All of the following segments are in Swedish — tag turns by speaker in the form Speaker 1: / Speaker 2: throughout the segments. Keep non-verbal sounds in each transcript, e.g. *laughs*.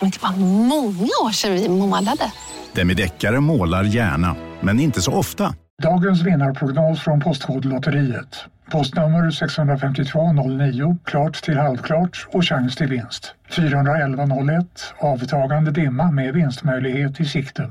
Speaker 1: Men
Speaker 2: typ,
Speaker 1: det var många år sedan vi målade.
Speaker 3: Demideckare målar gärna, men inte så ofta.
Speaker 4: Dagens vinnarprognos från Postkodlotteriet. Postnummer 65209, klart till halvklart och chans till vinst. 41101, avtagande dimma med vinstmöjlighet i sikte.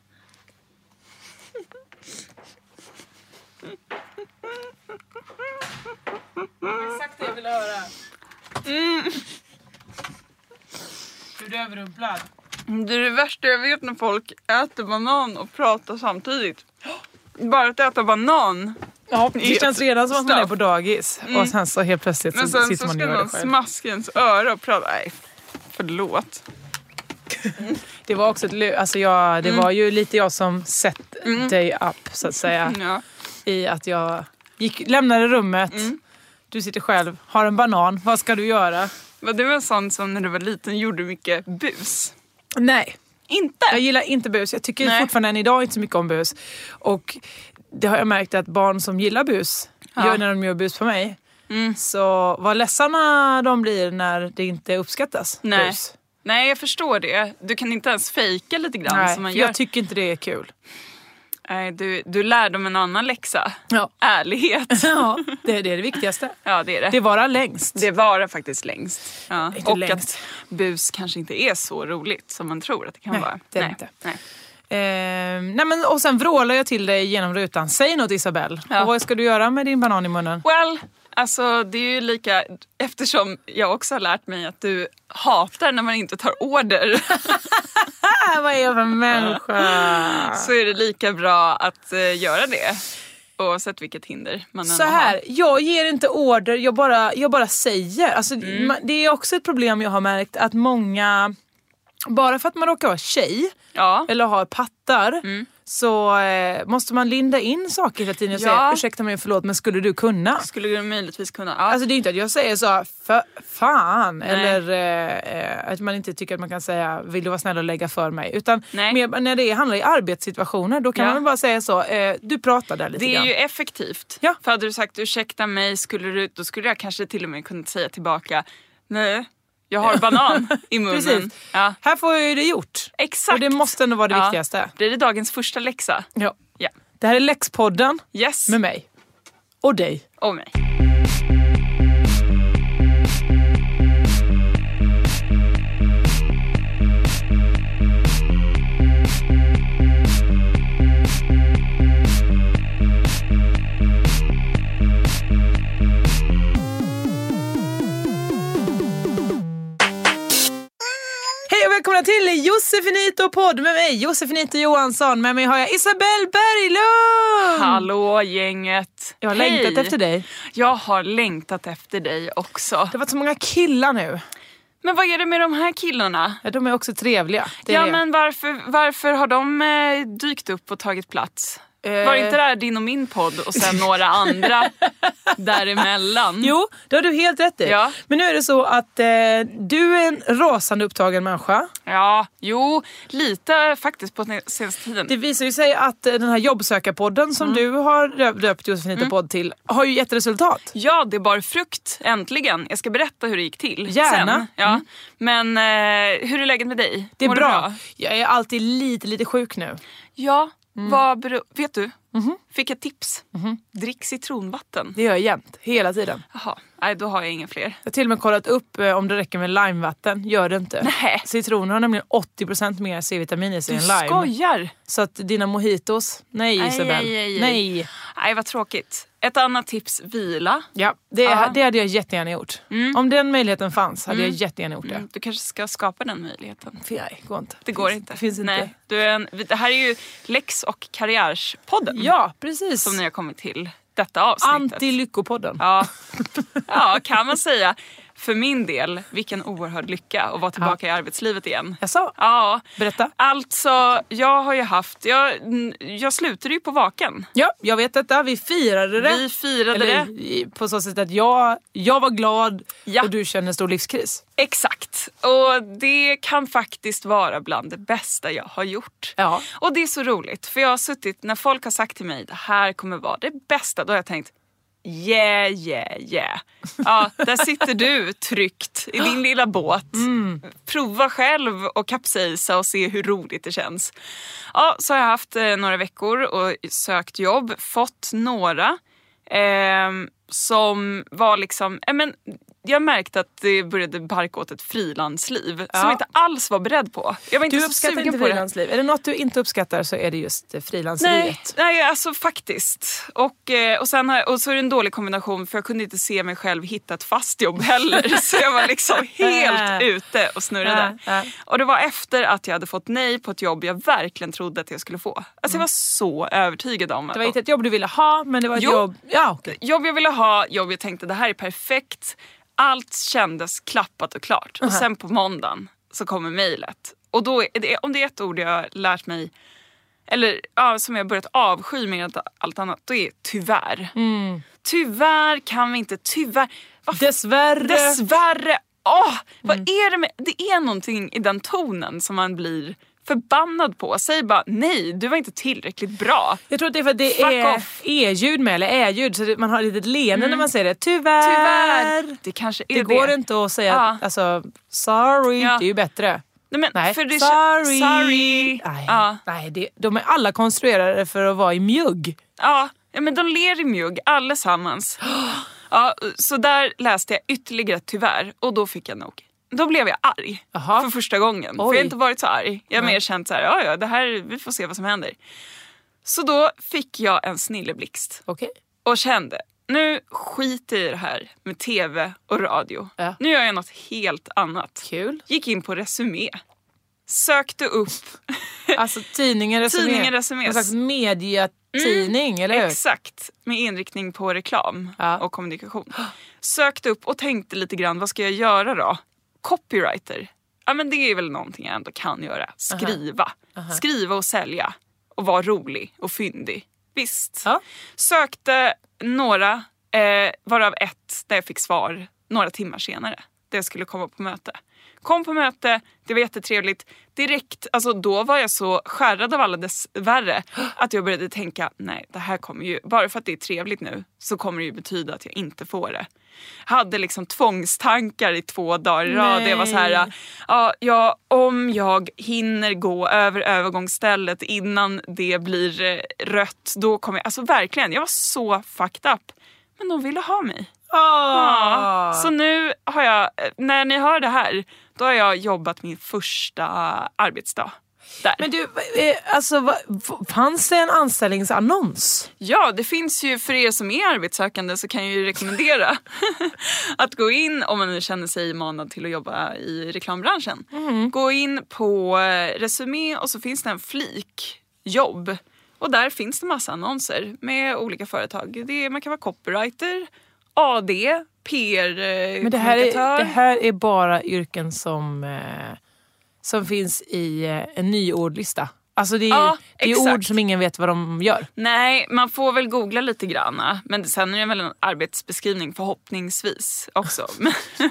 Speaker 5: Exakt det jag ville höra.
Speaker 6: Mm.
Speaker 5: Hur du är överrumplad.
Speaker 6: Mm, Det är det värsta jag vet när folk äter banan och pratar samtidigt. Bara att äta banan.
Speaker 5: Ja, det känns redan som att man är på dagis
Speaker 6: Mm.
Speaker 5: och sen så helt plötsligt
Speaker 6: Men
Speaker 5: så
Speaker 6: sen
Speaker 5: sitter
Speaker 6: så
Speaker 5: man och
Speaker 6: ska
Speaker 5: gör det
Speaker 6: någon
Speaker 5: själv.
Speaker 6: smaska ens öra och prata. Nej, förlåt.
Speaker 5: *laughs* Det var också ett lu- alltså jag, det
Speaker 6: Mm.
Speaker 5: var ju lite jag som sett
Speaker 6: Mm.
Speaker 5: dig upp så att säga.
Speaker 6: Ja. Mm.
Speaker 5: I att jag gick, lämnade rummet, du sitter själv, har en banan, vad ska du göra?
Speaker 6: Var det en sån som när du var liten gjorde mycket bus?
Speaker 5: Nej.
Speaker 6: Inte?
Speaker 5: Jag gillar inte bus. Jag tycker
Speaker 6: Nej.
Speaker 5: fortfarande än idag inte så mycket om bus. Och det har jag märkt att barn som gillar bus,
Speaker 6: Ja. Mm.
Speaker 5: gör när de gör bus på mig. Så vad ledsna de blir när det inte uppskattas.
Speaker 6: Nej.
Speaker 5: Bus.
Speaker 6: Nej, jag förstår det. Du kan inte ens fejka lite grann
Speaker 5: Nej,
Speaker 6: som man
Speaker 5: för
Speaker 6: gör.
Speaker 5: Jag tycker inte det är kul.
Speaker 6: Nej, du, du lär dem en annan läxa.
Speaker 5: Ja. *laughs*
Speaker 6: Ärlighet.
Speaker 5: Ja, det, är det viktigaste.
Speaker 6: *laughs* Ja, det är det.
Speaker 5: Det varar längst.
Speaker 6: Det varar faktiskt längst. Ja.
Speaker 5: Inte
Speaker 6: Och
Speaker 5: längst.
Speaker 6: att bus kanske inte är så roligt som man tror att det kan
Speaker 5: Nej,
Speaker 6: vara.
Speaker 5: det är
Speaker 6: Nej.
Speaker 5: inte.
Speaker 6: Nej.
Speaker 5: Ehm, nej men, och sen vrålar jag till dig genom rutan. Säg något Isabelle.
Speaker 6: Ja.
Speaker 5: Och vad ska du göra med din banan i munnen?
Speaker 6: Well, alltså det är ju lika... Eftersom jag också har lärt mig att du hatar när man inte tar order
Speaker 5: Äh, *laughs* vad är jag för människa?
Speaker 6: så är det lika bra att eh, göra det. Oavsett vilket hinder man
Speaker 5: Så
Speaker 6: än
Speaker 5: här, jag ger inte order, jag bara, jag bara säger. Alltså,
Speaker 6: Mm.
Speaker 5: ma- Det är också ett problem jag har märkt att många, bara för att man råkar vara tjej
Speaker 6: Ja.
Speaker 5: eller har pattar
Speaker 6: Mm.
Speaker 5: så eh, måste man linda in saker hela tiden och
Speaker 6: Ja.
Speaker 5: säga ursäkta mig förlåt men skulle du kunna?
Speaker 6: Skulle du möjligtvis kunna... Ja.
Speaker 5: Alltså det är inte att jag säger så för fan
Speaker 6: Nej.
Speaker 5: eller eh, eh, att man inte tycker att man kan säga vill du vara snäll och lägga för mig utan
Speaker 6: Nej.
Speaker 5: mer, när det handlar i arbetssituationer då kan
Speaker 6: Ja.
Speaker 5: man väl bara säga så eh, du pratar där lite
Speaker 6: Det är
Speaker 5: grann.
Speaker 6: ju effektivt.
Speaker 5: Ja.
Speaker 6: För hade du sagt ursäkta mig, skulle du, då skulle jag kanske till och med kunna säga tillbaka nej, jag
Speaker 5: *laughs*
Speaker 6: har banan i munnen.
Speaker 5: Precis.
Speaker 6: Ja.
Speaker 5: Här får jag ju det gjort.
Speaker 6: Exakt.
Speaker 5: Och det måste ändå vara det
Speaker 6: Ja.
Speaker 5: viktigaste.
Speaker 6: Blir det dagens första läxa?
Speaker 5: Ja.
Speaker 6: Ja.
Speaker 5: Det här är Läxpodden
Speaker 6: Yes.
Speaker 5: med mig. Och dig.
Speaker 6: Och mig.
Speaker 5: Hej och välkomna till Josefinito podd med mig Josefinito Johansson. Med mig har jag Isabelle Berglund.
Speaker 6: Hallå gänget!
Speaker 5: Jag har längtat efter dig.
Speaker 6: Jag har längtat efter dig också.
Speaker 5: Det har varit så många killar nu.
Speaker 6: Men vad är det med de här killarna?
Speaker 5: Ja, de är också trevliga. Det är
Speaker 6: Ja
Speaker 5: det.
Speaker 6: men varför, varför har de eh, dykt upp och tagit plats?
Speaker 5: Eh.
Speaker 6: Var inte det här din och min podd och sen
Speaker 5: *laughs*
Speaker 6: några andra däremellan?
Speaker 5: Jo, det har du helt rätt i.
Speaker 6: Ja.
Speaker 5: Men nu är det så att eh, du är en rasande upptagen människa.
Speaker 6: Ja, jo, lite faktiskt på den senaste tiden. Mm.
Speaker 5: Det visar ju sig att eh, den här jobbsökarpodden som du har döp- döpt Josefinito podd till har ju gett resultat.
Speaker 6: Ja, det bar frukt äntligen. Jag ska berätta hur det gick till
Speaker 5: Gärna.
Speaker 6: sen. Ja. Men eh, hur är läget med dig?
Speaker 5: Det är
Speaker 6: Mår
Speaker 5: bra.
Speaker 6: du
Speaker 5: Jag är alltid lite, lite sjuk nu.
Speaker 6: Ja,
Speaker 5: Mm.
Speaker 6: vad beror... Vet du?
Speaker 5: Mhm.
Speaker 6: Fick ett tips. Drick citronvatten.
Speaker 5: Det gör jag jämt, hela tiden.
Speaker 6: Jaha, nej då har jag inga fler.
Speaker 5: Jag har till och med kollat upp eh, om det räcker med limevatten. Gör det inte.
Speaker 6: Nej.
Speaker 5: Citroner har nämligen 80% mer C-vitamin i sig
Speaker 6: Du
Speaker 5: än lime.
Speaker 6: skojar!
Speaker 5: Så att dina mojitos, nej
Speaker 6: Aj,
Speaker 5: Isabel.
Speaker 6: aj, aj, aj.
Speaker 5: Nej.
Speaker 6: Nej, vad tråkigt. Ett annat tips, vila.
Speaker 5: Ja, det,
Speaker 6: Ja. Mm.
Speaker 5: det hade jag jättegärna gjort. Om den möjligheten fanns hade jag jättegärna gjort det.
Speaker 6: Du kanske ska skapa den möjligheten.
Speaker 5: För nej, går inte.
Speaker 6: Det går
Speaker 5: finns,
Speaker 6: inte.
Speaker 5: Finns inte.
Speaker 6: Nej, du är en, det här är ju Lex och karriärspodden
Speaker 5: Ja, precis.
Speaker 6: som ni har kommit till detta avsnittet.
Speaker 5: Anti-lyckopodden.
Speaker 6: ja. ja, kan man säga. För min del, vilken oerhörd lycka att vara tillbaka i arbetslivet igen.
Speaker 5: Jaså?
Speaker 6: Ja,
Speaker 5: Berätta.
Speaker 6: alltså jag har ju haft, jag, jag slutade ju på vaken.
Speaker 5: Ja, jag vet detta. Vi firade det.
Speaker 6: Vi firade
Speaker 5: Eller,
Speaker 6: det.
Speaker 5: i- på så sätt att jag, jag var glad
Speaker 6: Ja.
Speaker 5: och du kände en stor livskris.
Speaker 6: Exakt. Och det kan faktiskt vara bland det bästa jag har gjort.
Speaker 5: Ja.
Speaker 6: Och det är så roligt, för jag har suttit, när folk har sagt till mig det här kommer vara det bästa, då har jag tänkt Yeah, yeah, yeah. Ja, där sitter du tryggt i din lilla båt.
Speaker 5: Mm.
Speaker 6: Prova själv och kapsejsa och se hur roligt det känns. Ja, så har jag haft eh, några veckor och sökt jobb, fått några ehm, som var liksom... Eh, men, jag märkte att det började barka åt ett frilansliv som jag inte alls var beredd på. Jag var inte
Speaker 5: Du
Speaker 6: så
Speaker 5: uppskattar
Speaker 6: sugen
Speaker 5: inte
Speaker 6: på det.
Speaker 5: frilansliv. Är det något du inte uppskattar så är det just eh,
Speaker 6: Nej,
Speaker 5: frilanslivet.
Speaker 6: nej, alltså faktiskt. Och, eh, och, sen har, jag- och så är det en dålig kombination för jag kunde inte se mig själv hitta ett fast jobb heller. *laughs* så jag var liksom helt
Speaker 5: *laughs* Äh.
Speaker 6: ute och snurrade.
Speaker 5: Äh, äh.
Speaker 6: Och det var efter att jag hade fått nej på ett jobb jag verkligen trodde att jag skulle få. Alltså jag var så övertygad om att
Speaker 5: Mm. Det var inte ett jobb du ville ha men det var ett
Speaker 6: Jo.
Speaker 5: jobb... Ja, okej.
Speaker 6: jobb jag ville ha, jobb jag tänkte det här är perfekt. Allt kändes klappat och klart. Och sen på måndagen så kommer mejlet. Och då, är det, om det är ett ord jag har lärt mig, eller ja, som jag börjat avsky mer än allt annat, då är tyvärr.
Speaker 5: Mm.
Speaker 6: Tyvärr kan vi inte, tyvärr. Vad
Speaker 5: Dessvärre. Mm.
Speaker 6: Dessvärre. Åh, vad är det med... Det är någonting i den tonen som man blir förbannad på. Säg bara nej, du var inte tillräckligt bra.
Speaker 5: Jag tror att det är för att det
Speaker 6: Fuck
Speaker 5: är
Speaker 6: off.
Speaker 5: e-ljud med, eller ä-ljud, så det- man har ett litet leende när man säger det. Mm. Tyvärr!
Speaker 6: Tyvärr. Det kanske är
Speaker 5: Det
Speaker 6: det.
Speaker 5: går inte att säga
Speaker 6: Ja.
Speaker 5: alltså, sorry,
Speaker 6: Ja.
Speaker 5: det är ju bättre.
Speaker 6: Nej, men,
Speaker 5: Nej,
Speaker 6: För det,
Speaker 5: sorry!
Speaker 6: sorry.
Speaker 5: Nej,
Speaker 6: Ja,
Speaker 5: nej det, de är alla konstruerade för att vara i mjugg.
Speaker 6: ja. ja, men de ler i mjugg allesammans. *gasps* Ja, så där läste jag ytterligare tyvärr och då fick jag nog. Då blev jag arg
Speaker 5: Jaha.
Speaker 6: för första gången. För
Speaker 5: Oj.
Speaker 6: jag har inte varit så arg. Jag har mer känt så här, ja ja, det här, vi får se vad som händer. Så då fick jag en snilleblixt
Speaker 5: Okej.
Speaker 6: och kände, nu skiter jag i det här med tv och radio.
Speaker 5: Ja.
Speaker 6: Nu gör jag något helt annat.
Speaker 5: Kul.
Speaker 6: Gick in på Resumé. Sökte upp *laughs*
Speaker 5: Alltså tidningen Resumé.
Speaker 6: Tidningen Resumé.
Speaker 5: En slags mediatidning, eller hur?
Speaker 6: Exakt, med inriktning på reklam
Speaker 5: Ja.
Speaker 6: och kommunikation. Sökte upp och tänkte lite grann, vad ska jag göra då? Copywriter, ja men det är väl någonting jag ändå kan göra. Skriva. Skriva och sälja. Och vara rolig och fyndig. Visst.
Speaker 5: Ja.
Speaker 6: Sökte några, eh, varav ett där jag fick svar några timmar senare. Där jag skulle komma på möte. Kom på möte, det var jättetrevligt. Direkt, alltså då var jag så skärrad av alla dess värre att jag började tänka, nej det här kommer ju, bara för att det är trevligt nu så kommer det ju betyda att jag inte får det. Hade liksom tvångstankar i två dagar i rad. Jag var så här, ja, ja, om jag hinner gå över övergångsstället innan det blir eh, rött, då kommer jag, alltså verkligen, jag var så fucked up. Men de ville ha mig. Ja, Så nu har jag, när ni hör det här, då har jag jobbat min första arbetsdag. Där.
Speaker 5: Men du, eh, alltså, va- f- fanns det en anställningsannons?
Speaker 6: Ja, det finns ju för er som är arbetssökande så kan jag ju rekommendera *laughs* att gå in om man nu känner sig manad till att jobba i reklambranschen. Gå in på eh, Resumé och så finns det en flik jobb och där finns det massa annonser med olika företag. Det är, man kan vara copywriter, AD, PR, eh,
Speaker 5: Men det här, är,
Speaker 6: kommunikatör.
Speaker 5: det här är bara yrken som, eh, som finns i eh, en ny ordlista. Alltså det är,
Speaker 6: Ja,
Speaker 5: det är
Speaker 6: exakt.
Speaker 5: ord som ingen vet vad de gör.
Speaker 6: Nej, man får väl googla lite grann. eh. Men sen är det väl en arbetsbeskrivning förhoppningsvis
Speaker 5: *laughs*
Speaker 6: också. Men *laughs*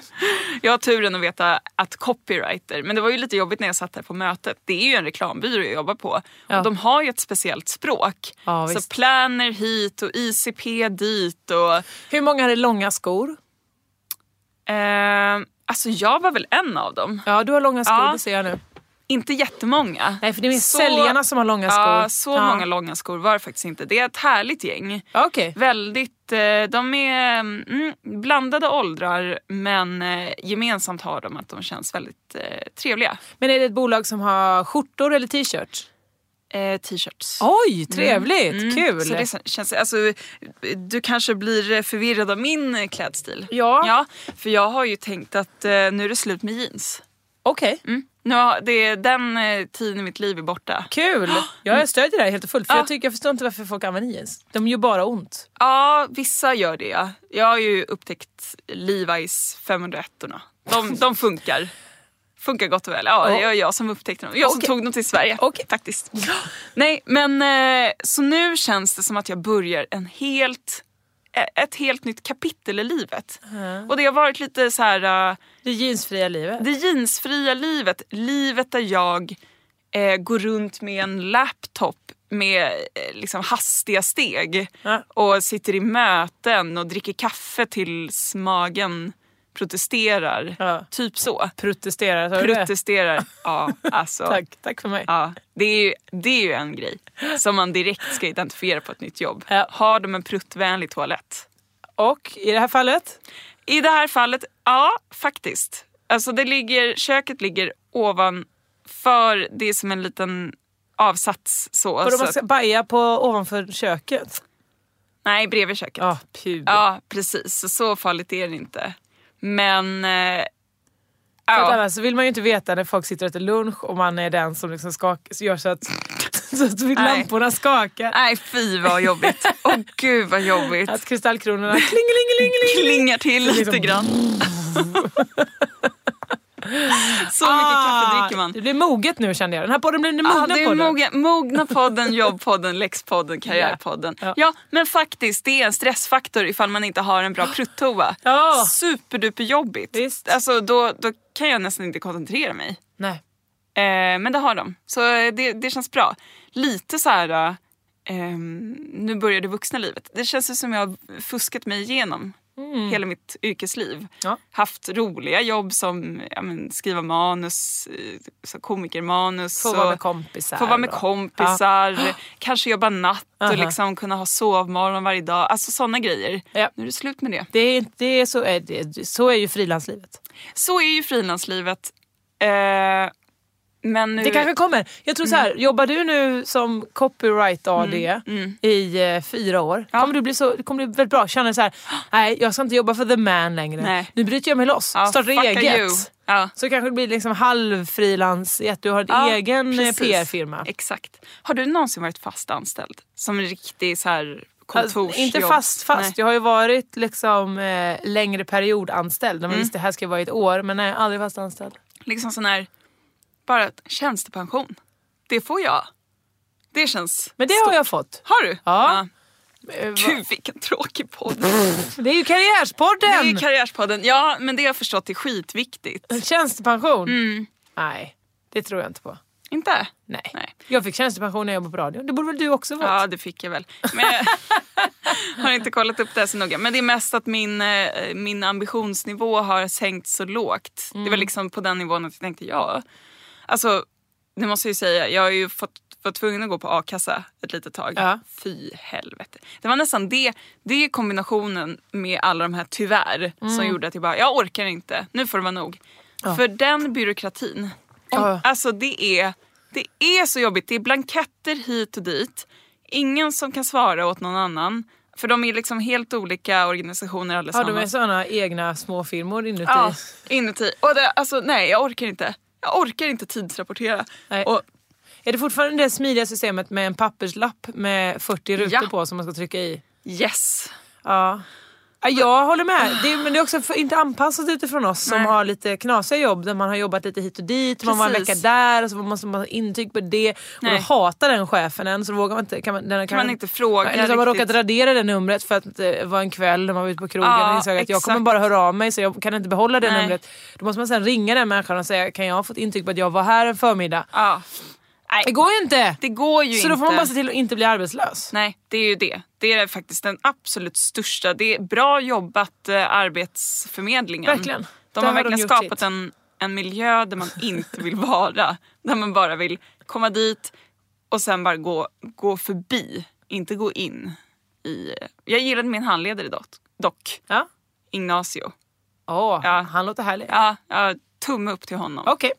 Speaker 6: jag har turen att veta att copywriter, men det var ju lite jobbigt när jag satt här på mötet. Det är ju en reklambyrå jag jobbar på
Speaker 5: Ja.
Speaker 6: och de har ju ett speciellt språk.
Speaker 5: Ja,
Speaker 6: så
Speaker 5: visst.
Speaker 6: planer hit och ICP dit och...
Speaker 5: Hur många hade långa skor?
Speaker 6: Eh, alltså jag var väl en av dem.
Speaker 5: Ja, du har långa skor,
Speaker 6: Ja.
Speaker 5: det ser jag nu.
Speaker 6: Inte jättemånga.
Speaker 5: Nej, för det är
Speaker 6: Så-
Speaker 5: säljarna som har långa skor.
Speaker 6: Ja, så många långa skor var det faktiskt inte. Det är ett härligt gäng.
Speaker 5: Ja, Okej.
Speaker 6: Väldigt, eh, de är mm, blandade åldrar men eh, gemensamt har de att de känns väldigt eh, trevliga.
Speaker 5: Men är det ett bolag som har skjortor eller t-shirts?
Speaker 6: eh, t-shirts. Mm.
Speaker 5: Oj, trevligt. Kul.
Speaker 6: Så det sen- känns, alltså, du kanske blir förvirrad av min eh, klädstil.
Speaker 5: Ja.
Speaker 6: ja för jag har ju tänkt att eh, nu är det slut med jeans.
Speaker 5: Okej.
Speaker 6: Mm. Nu har, det, den eh, tiden i mitt liv är borta.
Speaker 5: Kul! Ja, jag stödjer det här helt och fullt. För
Speaker 6: Ja.
Speaker 5: jag, tycker, jag förstår inte varför folk använder jeans. De gör bara ont.
Speaker 6: Ja, vissa gör det ja. Jag har ju upptäckt Levi's 501 orna
Speaker 5: *laughs*
Speaker 6: de, de funkar. Funkar gott och väl. Ja,
Speaker 5: Ja.
Speaker 6: det var jag som upptäckte dem. Jag som
Speaker 5: Okej.
Speaker 6: tog dem till Sverige
Speaker 5: Okej. *laughs*
Speaker 6: faktiskt. Nej, men eh, så nu känns det som att jag börjar en helt, e- ett helt nytt kapitel i livet. Och det har varit lite så här eh,
Speaker 5: Det jeansfria livet.
Speaker 6: det jeansfria livet, livet där jag eh, går runt med en laptop med eh, liksom hastiga steg
Speaker 5: Ja.
Speaker 6: och sitter i möten och dricker kaffe tills magen protesterar.
Speaker 5: Ja.
Speaker 6: Typ så.
Speaker 5: Protesterar, sa du det?
Speaker 6: Protesterar.
Speaker 5: *laughs*
Speaker 6: Ja, alltså.
Speaker 5: Tack, tack för mig.
Speaker 6: Ja, det, är ju, det är ju en grej som man direkt ska identifiera på ett nytt jobb.
Speaker 5: Ja.
Speaker 6: Har de en pruttvänlig toalett?
Speaker 5: Och i det här fallet?
Speaker 6: I det här fallet, ja faktiskt. Alltså det ligger, köket ligger ovanför, det är som en liten avsats så.
Speaker 5: Vadå,
Speaker 6: så
Speaker 5: man ska
Speaker 6: att-
Speaker 5: baja på ovanför köket?
Speaker 6: nej, bredvid köket.
Speaker 5: Ja, pud.
Speaker 6: Ja, precis. Så, så farligt är det inte. Men... Eh,
Speaker 5: För att
Speaker 6: ja.
Speaker 5: annars Alltså, vill man ju inte veta när folk sitter och äter lunch och man är den som liksom skak- gör så att, så att lamporna skakar.
Speaker 6: Nej, fy vad jobbigt.
Speaker 5: *laughs*
Speaker 6: Åh gud vad jobbigt.
Speaker 5: Att kristallkronorna klingelingelingeling.
Speaker 6: Klingar till lite
Speaker 5: liksom- *laughs*
Speaker 6: grann. så mycket kaffe dricker man.
Speaker 5: Det blir moget nu kände jag. Den här podden blir den mogna
Speaker 6: Ja, det är
Speaker 5: podden.
Speaker 6: mogna,
Speaker 5: *laughs*
Speaker 6: mogna podden, jobbpodden, läxpodden, karriärpodden.
Speaker 5: Ja.
Speaker 6: Ja. men faktiskt det är en stressfaktor ifall man inte har en bra pruttoa.
Speaker 5: Ja.
Speaker 6: Superduperjobbigt.
Speaker 5: Visst.
Speaker 6: Alltså då, då kan jag nästan inte koncentrera mig.
Speaker 5: Nej.
Speaker 6: Eh, men det har de, så eh, det, det känns bra. Lite så här, eh, ehm, nu börjar det vuxna livet. Det känns ju som jag har fuskat mig igenom hela mitt yrkesliv.
Speaker 5: Mm. Ja.
Speaker 6: Haft roliga jobb som ja, men, skriva manus, eh, så komikermanus.
Speaker 5: Få
Speaker 6: och-
Speaker 5: vara med kompisar.
Speaker 6: Få vara med
Speaker 5: och-
Speaker 6: kompisar, kanske jobba natt
Speaker 5: Aha.
Speaker 6: och liksom kunna ha sovmorgon varje dag. Alltså sådana grejer.
Speaker 5: Ja.
Speaker 6: Nu är det slut med det.
Speaker 5: Det är, det är så, är det, så är ju frilanslivet.
Speaker 6: Så är ju frilanslivet. Eh, men nu...
Speaker 5: Det kanske kommer. Jag tror så här,
Speaker 6: Mm.
Speaker 5: jobbar du nu som copyright AD i eh, fyra år kommer du bli, så, det kommer bli väldigt bra. Känner så här, nej jag ska inte jobba för the man längre.
Speaker 6: Nej.
Speaker 5: Nu bryter jag mig loss,
Speaker 6: Ja,
Speaker 5: startar
Speaker 6: fuck
Speaker 5: eget.
Speaker 6: you. Ja.
Speaker 5: Så kanske det blir liksom halvfrilans i att du har en
Speaker 6: Ja,
Speaker 5: egen eh,
Speaker 6: precis.
Speaker 5: PR-firma.
Speaker 6: Exakt. Har du någonsin varit fast anställd? Som en riktig så här kontorsjobb?
Speaker 5: Alltså, inte fast fast.
Speaker 6: Nej.
Speaker 5: Jag har ju varit liksom eh, längre period anställd. När man visste här ska jag vara i ett år men nej, aldrig fast anställd.
Speaker 6: Mm. Liksom sån här, bara ett tjänstepension. Det får jag. Det känns...
Speaker 5: Men det har jag fått.
Speaker 6: Har du?
Speaker 5: Ja. Eh,
Speaker 6: ja. Gud vilken tråkig podd.
Speaker 5: Det är ju karriärspodden!
Speaker 6: Det är ju Karriärspodden. Ja, men det har jag förstått är skitviktigt. Mm.
Speaker 5: Tjänstepension? Nej, det tror jag inte på.
Speaker 6: Inte?
Speaker 5: Nej.
Speaker 6: Nej.
Speaker 5: Jag fick tjänstepension när jag jobbade på radio. Det borde väl du också fått?
Speaker 6: Ja, det fick jag väl. Men jag *laughs* har inte kollat upp det här så noga. Men det är mest att min, eh, min ambitionsnivå har sänkts så lågt. Det var
Speaker 5: Mm.
Speaker 6: liksom på den nivån att jag tänkte, ja. Alltså, det måste jag ju säga. Jag har ju fått var tvungen att gå på a-kassa ett litet tag.
Speaker 5: Ja.
Speaker 6: Fy helvete. Det var nästan det, det är kombinationen med alla de här tyvärr
Speaker 5: Mm.
Speaker 6: som gjorde att jag bara, jag orkar inte, nu får det vara nog. För den byråkratin, om,
Speaker 5: Ja.
Speaker 6: alltså det är, det är så jobbigt. Det är blanketter hit och dit. Ingen som kan svara åt någon annan. För de är liksom helt olika organisationer
Speaker 5: Ja,
Speaker 6: allesammans.
Speaker 5: de är såna egna småfirmor inuti.
Speaker 6: Ja, inuti. Och det, alltså nej, jag orkar inte. Jag orkar inte tidsrapportera.
Speaker 5: Nej.
Speaker 6: Och,
Speaker 5: Är det fortfarande det smidiga systemet med en papperslapp med 40 rutor
Speaker 6: Ja.
Speaker 5: på som man ska trycka i?
Speaker 6: yes.
Speaker 5: Ja. Ja, Jag håller med. Det är, men det är också för, inte anpassat utifrån oss som
Speaker 6: Nej.
Speaker 5: har lite knasiga jobb där man har jobbat lite hit och dit. Man var en
Speaker 6: Precis.
Speaker 5: vecka där och så måste man ha intyg på det. Och
Speaker 6: Nej.
Speaker 5: då hatar den chefen en så vågar man inte. Kan man, den,
Speaker 6: Kan man inte fråga
Speaker 5: Eller så har man
Speaker 6: riktigt.
Speaker 5: råkat radera det numret för att det var en kväll när man var ute på krogen
Speaker 6: Ja,
Speaker 5: och insåg att jag
Speaker 6: exakt.
Speaker 5: kommer bara höra av mig så jag kan inte behålla det
Speaker 6: Nej.
Speaker 5: numret. Då måste man sen ringa den människan och säga kan jag ha fått intyg på att jag var här en förmiddag?
Speaker 6: Ja. Nej,
Speaker 5: Det går ju inte!
Speaker 6: det går ju
Speaker 5: så
Speaker 6: inte.
Speaker 5: då får man bara se till att inte bli arbetslös.
Speaker 6: Nej, det är ju det. Det är faktiskt den absolut största. Det är bra jobbat eh, Arbetsförmedlingen.
Speaker 5: Verkligen. Där
Speaker 6: De har
Speaker 5: har de
Speaker 6: verkligen
Speaker 5: gjort sitt.
Speaker 6: skapat en, en miljö
Speaker 5: *laughs*
Speaker 6: där man inte vill vara. Där man bara vill komma dit och sen bara gå, gå förbi. Inte gå in i... Jag gillade min handledare dock. dock
Speaker 5: Ja.
Speaker 6: Ignacio.
Speaker 5: Åh,
Speaker 6: Ja.
Speaker 5: han låter härlig.
Speaker 6: Ja, jag Tumme upp till honom. Mm.
Speaker 5: Okej,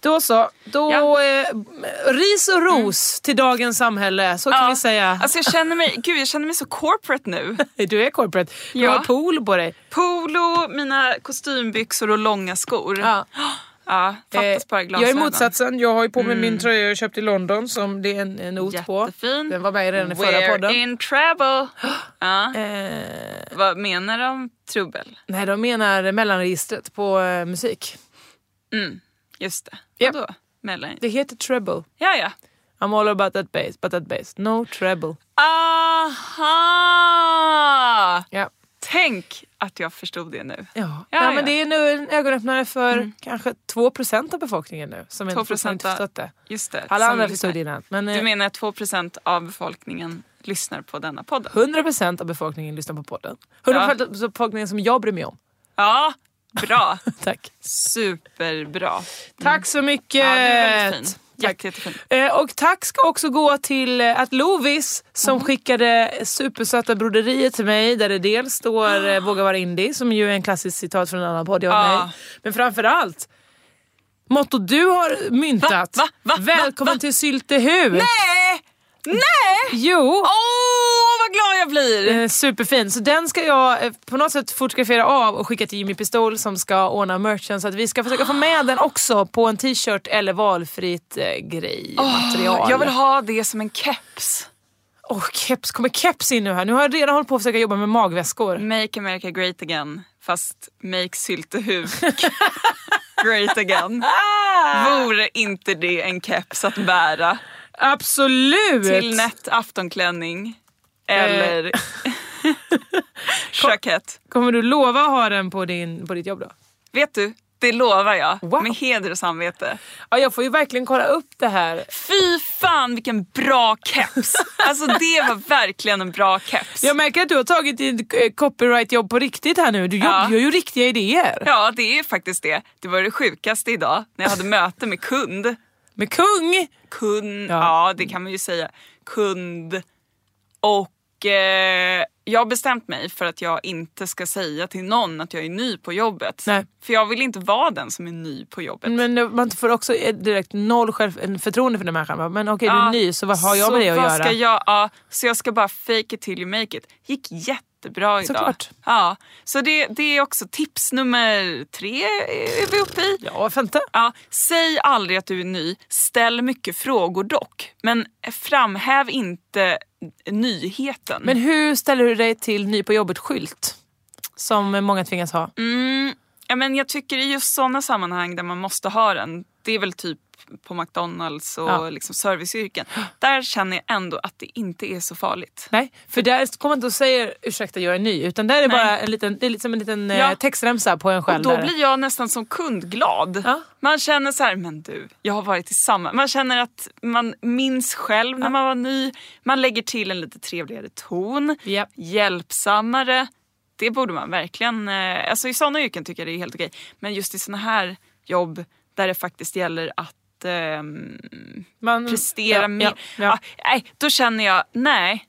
Speaker 5: då så. Då,
Speaker 6: Ja. Mm.
Speaker 5: eh, ris och ros till dagens samhälle, så kan vi säga.
Speaker 6: Alltså jag känner mig, gud jag känner mig så corporate nu.
Speaker 5: *laughs* Du är corporate. Du
Speaker 6: Ja.
Speaker 5: har pool på dig.
Speaker 6: Polo, mina kostymbyxor och långa skor.
Speaker 5: Ja.
Speaker 6: *gasps*
Speaker 5: Eh,
Speaker 6: Ja, fattas bara Mm.
Speaker 5: jag
Speaker 6: glasögon.
Speaker 5: är motsatsen. Jag har ju på mig min tröja jag köpte i London som det är en, en not på.
Speaker 6: Jättefin.
Speaker 5: Den var med redan i förra
Speaker 6: We're
Speaker 5: podden. *gasps*
Speaker 6: in trouble. Ja.
Speaker 5: Eh,
Speaker 6: Vad menar de? Trubbel?
Speaker 5: nej, de menar mellanregistret på eh, musik.
Speaker 6: Mm. Just det.
Speaker 5: Japp.
Speaker 6: Vadå? Mellan...
Speaker 5: Det heter treble.
Speaker 6: Ja, ja.
Speaker 5: I'm all about that bass, but that bass. No treble.
Speaker 6: Aha!
Speaker 5: Ja.
Speaker 6: Tänk att jag förstod det nu.
Speaker 5: Ja.
Speaker 6: Ja,
Speaker 5: Nej,
Speaker 6: ja.
Speaker 5: Men det är nu en ögonöppnare för
Speaker 6: Mm.
Speaker 5: kanske 2 av befolkningen nu som inte
Speaker 6: 2%
Speaker 5: fortfarande inte förstått det.
Speaker 6: Just det.
Speaker 5: Alla
Speaker 6: som
Speaker 5: andra
Speaker 6: lyssnar.
Speaker 5: förstod det innan. Men
Speaker 6: Du
Speaker 5: eh,
Speaker 6: menar att 2 av befolkningen lyssnar på denna podden?
Speaker 5: 100 av befolkningen lyssnar på podden. 100 av befolkningen som jag bryr mig om.
Speaker 6: Ja, bra.
Speaker 5: *laughs* Tack.
Speaker 6: Superbra. Mm.
Speaker 5: Tack så mycket!
Speaker 6: Ja, du är väldigt fin.
Speaker 5: Tack.
Speaker 6: Jätte, jättefin.
Speaker 5: Eh, Och tack ska också gå till eh, att Lovis som
Speaker 6: Mm.
Speaker 5: skickade supersöta broderier till mig där det dels står
Speaker 6: *gasps*
Speaker 5: eh, Våga vara indie som ju är en klassisk citat från en annan podd jag har
Speaker 6: Ja.
Speaker 5: med. Men framförallt motto du har myntat.
Speaker 6: Va? Va? Va?
Speaker 5: Välkommen till Syltehus! Nej!
Speaker 6: Nej! Nej!
Speaker 5: Jo!
Speaker 6: Åh, vad glad jag blir!
Speaker 5: Eh, Superfin. Så den ska jag eh, på något sätt fotografera av och skicka till Jimmy Pistol som ska ordna merchen. Så att vi ska försöka få med den också på en t-shirt eller valfritt eh, grej. material.
Speaker 6: Jag vill ha det som en keps.
Speaker 5: Åh, keps. Kommer keps in nu här? Nu har jag redan hållit på att försöka jobba med magväskor.
Speaker 6: Make America great again, fast make Syltehuk *laughs* great again. Vore inte det en keps att bära
Speaker 5: Absolut! Eh.
Speaker 6: till nätt aftonklänning
Speaker 5: *laughs*
Speaker 6: eller *laughs* jackett?
Speaker 5: Kommer du lova att ha den på, din, på ditt jobb då?
Speaker 6: Vet du, det lovar jag
Speaker 5: Wow.
Speaker 6: med heder och samvete.
Speaker 5: Ja, jag får ju verkligen kolla upp det här.
Speaker 6: Fy fan vilken bra keps! Alltså det var verkligen en bra keps.
Speaker 5: Jag märker att du har tagit ditt eh, copyright-jobb på riktigt här nu. Du jobb,
Speaker 6: Ja.
Speaker 5: gör ju riktiga idéer.
Speaker 6: Ja, det är faktiskt det. Det var det sjukaste idag när jag hade möte med kund.
Speaker 5: Med kung!
Speaker 6: Kund,
Speaker 5: Ja.
Speaker 6: ja. det kan man ju säga. Kund. Och eh, jag har bestämt mig för att jag inte ska säga till någon att jag är ny på jobbet.
Speaker 5: Nej.
Speaker 6: För jag vill inte vara den som är ny på jobbet.
Speaker 5: Men eh, man får också direkt noll självförtroende för den här människan. Men okej, du är
Speaker 6: Ja,
Speaker 5: ny, Ah. så vad har jag med
Speaker 6: så
Speaker 5: det att
Speaker 6: vad
Speaker 5: göra?
Speaker 6: Ska jag, ja, så jag ska bara fake it till you make it. gick jättebra idag.
Speaker 5: Såklart.
Speaker 6: Ja, så det, det är också tips nummer tre är vi uppe i.
Speaker 5: Ja, vänta.
Speaker 6: Ja, säg aldrig att du är ny. Ställ mycket frågor dock. Men framhäv inte nyheten.
Speaker 5: Men hur ställer du dig till ny på jobbet-skylt? Som många tvingas ha.
Speaker 6: Mm, ja, men jag tycker i just sådana sammanhang där man måste ha den, det är väl typ på McDonalds och
Speaker 5: Ja.
Speaker 6: liksom serviceyrken. Där känner jag ändå att det inte är så farligt.
Speaker 5: Nej, för där kommer man inte och säger ursäkta jag är ny utan där är det
Speaker 6: Nej.
Speaker 5: bara en liten, det är lite som en liten
Speaker 6: Ja.
Speaker 5: eh, textremsa på en själv.
Speaker 6: Och då
Speaker 5: där.
Speaker 6: blir jag nästan som kundglad.
Speaker 5: Ja.
Speaker 6: Man känner så här, men du, jag har varit i samma. Man känner att man minns själv när man var ny. Man lägger till en lite trevligare ton,
Speaker 5: Japp.
Speaker 6: hjälpsammare. Det borde man verkligen... eh, Alltså I sådana yrken tycker jag det är helt okej. Men just i sådana här jobb där det faktiskt gäller att ehm,
Speaker 5: man,
Speaker 6: prestera
Speaker 5: ja,
Speaker 6: mer.
Speaker 5: Ja, ja.
Speaker 6: Ah, nej, då känner jag, nej.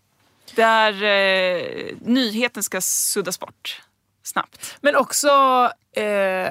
Speaker 6: Där eh, nyheten ska suddas bort snabbt.
Speaker 5: Men också eh,